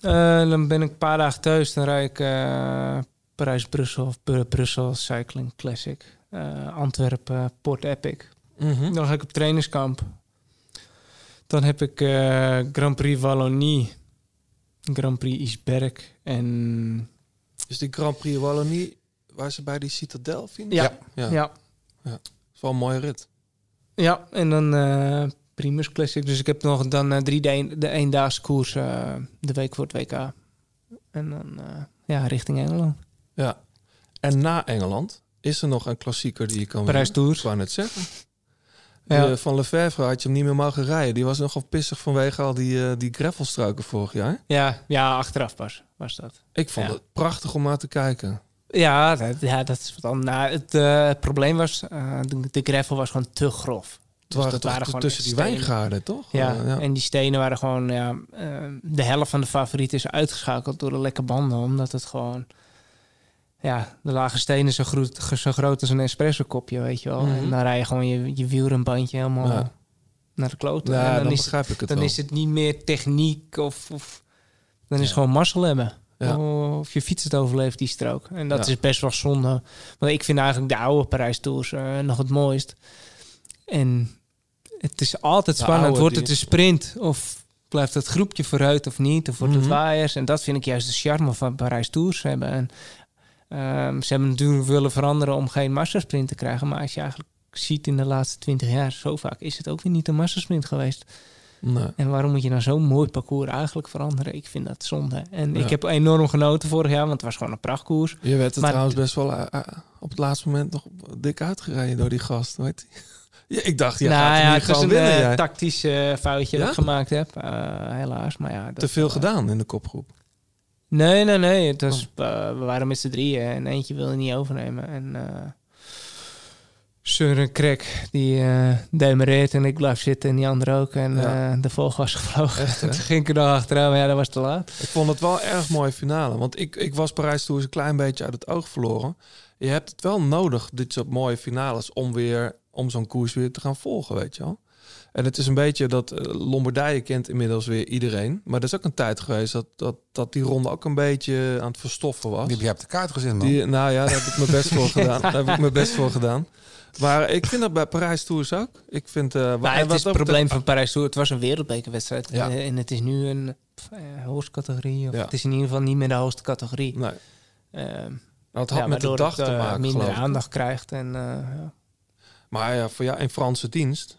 Eh, dan ben ik een paar dagen thuis. Dan rijd ik eh, Parijs-Brussel of Bru- Brussel Cycling Classic. eh, Antwerpen, Port Epic.
Hm?
Dan ga ik op trainingskamp. Dan heb ik eh, Grand Prix Wallonie, Grand Prix Isberg en...
Dus die Grand Prix Wallonie, waar ze bij die Citadel vinden?
Ja.
Ja.
ja.
is wel een mooie rit.
Ja, en dan eh, Primus Classic. Dus ik heb nog dan eh, drie de, de eendaagse koers eh, de week voor het WK. En dan eh, ja, richting Engeland.
Ja. En na Engeland is er nog een klassieker die je kan
Parijs
winnen. Ik
Tours.
wou net zeggen.
Ja.
Eh, van Lefebvre had je hem niet meer mogen rijden. Die was nogal pissig vanwege al die, eh die gravelstruiken vorig jaar.
Ja, ja, achteraf pas was dat.
Ik vond
Ja.
het prachtig om naar te kijken.
Ja, dat, ja, dat is wat dan. Nou, het eh, probleem was, eh, de, de gravel was gewoon te grof. Dus
Het waren
dat
toch
waren
t-
gewoon
tussen die
stenen.
wijngaarden, toch?
Ja,
Eh, ja.
en die stenen waren gewoon, ja, eh, de helft van de favorieten is uitgeschakeld door de lekke banden, omdat het gewoon, ja, de lage stenen zo, groot, ge- zo groot als een espresso kopje, weet je wel.
Mhm.
En dan rij je gewoon je, je wielrenbandje helemaal
Ja.
naar de kloten.
Ja,
en
dan,
dan, is, het,
begrijp ik het
dan
wel.
is het niet meer techniek of, of dan is het gewoon mazzel hebben.
Ja.
Of je fiets het overleeft, die strook. En dat
Ja.
is best wel zonde. Want ik vind eigenlijk de oude Parijs-tours eh, nog het mooist. En het is altijd
De
spannend.
oude
Wordt
die-
het een sprint of blijft het groepje vooruit of niet? Of wordt
Mhm.
het waaiers? En dat vind ik juist de charme van Parijs-tours hebben. En, ehm, ze hebben natuurlijk willen veranderen om geen massasprint te krijgen. Maar als je eigenlijk ziet in de laatste twintig jaar, zo vaak is het ook weer niet een massasprint geweest.
Nee.
En waarom moet je nou zo'n mooi parcours eigenlijk veranderen? Ik vind dat zonde. En
Ja.
ik heb enorm genoten vorig jaar, want het was gewoon een prachtkoers.
Je werd er
Maar-
trouwens best wel eh, eh, op het laatste moment nog dik uitgereden door die gast. Weet je? Ja, ik dacht, je gaat hem hier
Nou het was
gewoon
een
winnen.
eh,
jij.
tactisch eh, foutje
Ja?
dat ik gemaakt heb. Eh, helaas, maar ja. dat- eh,
Te veel gedaan Oh. in de kopgroep.
Nee, nee, nee. Het was, eh, we waren met z'n drieën en eentje wilde niet overnemen. En eh Søren Krek, die eh demereert en ik blijf zitten en die andere ook. En
Ja.
eh, de volg was gevlogen.
Echt, hè?
Toen ging ik er nog achteraan, maar ja, dat was te laat.
Ik vond het wel erg mooie finale. Want ik, ik was Parijs Tours een klein beetje uit het oog verloren. Je hebt het wel nodig, dit soort mooie finales, om weer om zo'n koers weer te gaan volgen, weet je wel. En het is een beetje dat eh, Lombardije kent inmiddels weer iedereen. Maar er is ook een tijd geweest dat, dat, dat die ronde ook een beetje aan het verstoffen was.
Die heb je op de kaart gezet, man.
Die, nou ja, daar heb ik mijn best voor gedaan. Daar heb ik mijn best voor gedaan. Maar ik vind dat bij Parijs Tours ook. Ik vind, eh, wa-
Maar
en
Nou,
wat
het is het
dat betreft-
probleem van Parijs Tour. Het was een wereldbekerwedstrijd. Eh,
Ja.
En, en het is nu een pff, eh, hoogste categorie. Of
Ja.
Het is in ieder geval niet meer de hoogste categorie.
Nee,
Ehm,
dat had
ja,
met de
waardoor
dag
het,
te
eh,
maken.
minder
geloof ik.
aandacht krijgt. En, eh, ja.
Maar ja, voor jou in Franse dienst,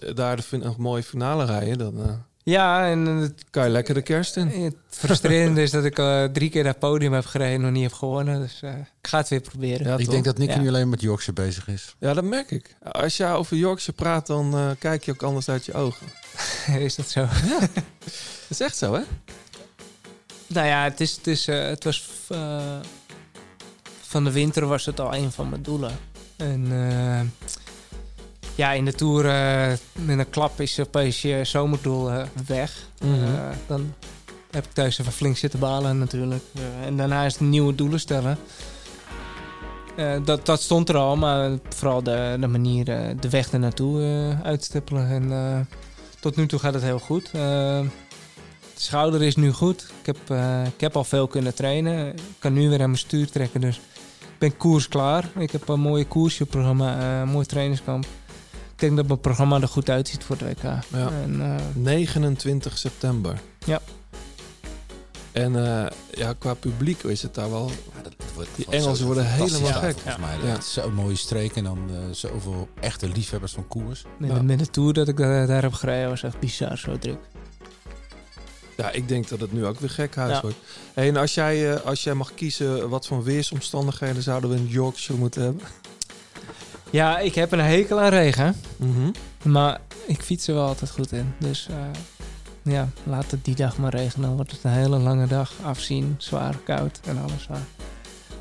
eh, daar de fin- een mooie finale rijden, dan eh,
ja, en het,
kan je lekker de kerst in.
het frustrerende is dat ik eh, drie keer naar het podium heb gereden en nog niet heb gewonnen. Dus eh, ik ga het weer proberen.
Ja,
ik
toch?
denk dat Nick
Ja.
nu alleen met Yorkshire bezig is.
Ja, dat merk ik. Als jij over Yorkshire praat, dan eh, kijk je ook anders uit je ogen.
is dat zo?
Dat is echt zo, hè?
Nou ja, het, is, het, is, eh, het was. eh, van de winter was het al een van mijn doelen. En. eh, ja, in de tour eh, met een klap is opeens je zomerdoel eh, weg. Eh, dan heb ik thuis even flink zitten balen natuurlijk. Eh, en daarna is het nieuwe doelen stellen. Eh, dat, dat stond er al, maar vooral de, de manier, eh, de weg ernaartoe eh, uitstippelen. En eh, tot nu toe gaat het heel goed. Eh, de schouder is nu goed. Ik heb, eh, ik heb al veel kunnen trainen. Ik kan nu weer aan mijn stuur trekken. Dus ik ben koers klaar. Ik heb een mooie koersje op programma. eh, een mooi trainingskamp. Ik denk dat mijn programma er goed uitziet voor de WK.
Ja.
En, eh,
29 september.
Ja.
En eh, ja, qua publiek is het daar wel...
Ja, dat- dat wordt-
Die
wordt
Engelsen
zo-
worden
fantastisch
helemaal
daar,
gek.
Volgens mij,
Ja.
dat is zo'n mooie streek en dan eh, zoveel echte liefhebbers van koers.
met,
Ja.
met de tour dat ik daar, daar heb gereden was echt bizar zo druk.
Ja, ik denk dat het nu ook weer gek huis
Ja.
wordt. Hey, en als jij, eh, als jij mag kiezen, wat voor weersomstandigheden zouden we in Yorkshire moeten hebben?
Ja, ik heb een hekel aan regen. Mhm. Maar ik fiets er wel altijd goed in. Dus eh, ja, laat het die dag maar regenen. Dan wordt het een hele lange dag. Afzien, zwaar, koud en alles zwaar.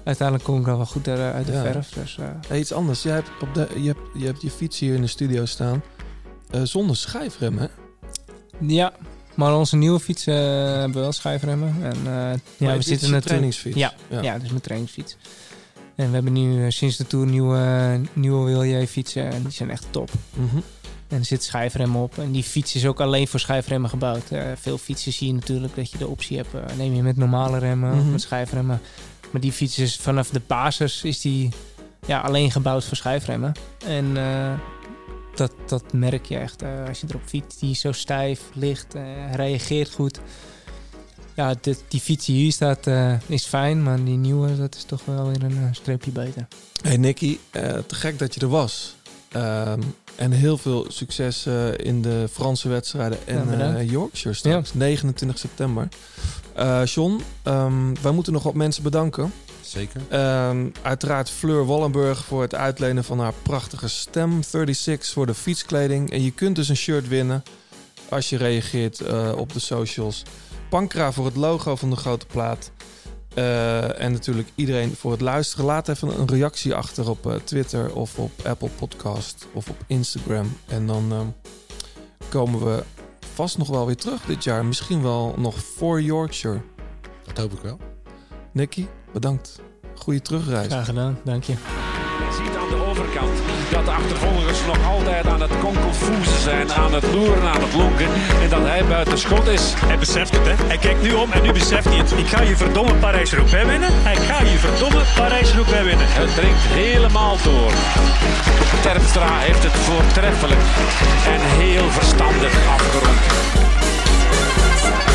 Uiteindelijk kom ik dan wel goed er, eh, uit de
Ja.
verf. Dus eh,
Hey, iets anders. Jij hebt, op de, je, hebt, je hebt je fiets hier in de studio staan eh, zonder schijfrem, hè?
ja, maar onze nieuwe fietsen eh, hebben wel schijfremmen. En, eh, ja,
Maar
we
dit is een
zitten natuurlijk...
trainingsfiets.
Ja, ja. dus mijn trainingsfiets. En we hebben nu eh, sinds de Tour nieuwe, nieuwe Willier fietsen. En die zijn echt top.
Mhm.
En er zit schijfremmen op. En die fiets is ook alleen voor schijfremmen gebouwd. Eh, veel fietsen zie je natuurlijk dat je de optie hebt. eh, neem je met normale remmen of
Mhm.
met schijfremmen. Maar die fiets is vanaf de basis is die, ja, alleen gebouwd voor schijfremmen. En eh, dat, dat merk je echt eh, als je erop fietst. Die is zo stijf, licht, eh, reageert goed. Ja, dit, die fiets die hier staat eh, is fijn. Maar die nieuwe, dat is toch wel weer een eh, streepje beter.
Hey Nicky, eh, te gek dat je er was. Ehm, en heel veel succes eh, in de Franse wedstrijden en
Ja, bedankt.
eh, Yorkshire straks. 29 september. Eh John, ehm, wij moeten nog wat mensen bedanken.
Zeker.
Ehm, uiteraard Fleur Wallenburg voor het uitlenen van haar prachtige stem. 36 voor de fietskleding. En je kunt dus een shirt winnen als je reageert eh, op de socials. Pankra voor het logo van de grote plaat. Eh, en natuurlijk iedereen voor het luisteren. Laat even een reactie achter op eh, Twitter of op Apple Podcast of op Instagram. En dan ehm, komen we vast nog wel weer terug dit jaar. Misschien wel nog voor Yorkshire.
Dat hoop ik wel.
Nicky, bedankt. Goeie terugreis.
Graag gedaan, dank je.
ziet aan de overkant dat de achtervolgers nog altijd aan het konkelfoezen zijn, aan het loeren, aan het lonken en dat hij buiten schot is.
Hij beseft het, hè. Hij kijkt nu om en nu beseft hij het. Ik ga je verdomme Parijs-Roubaix winnen. Ik ga je verdomme Parijs-Roubaix winnen.
Het dringt helemaal door. Terpstra heeft het voortreffelijk en heel verstandig afgerond.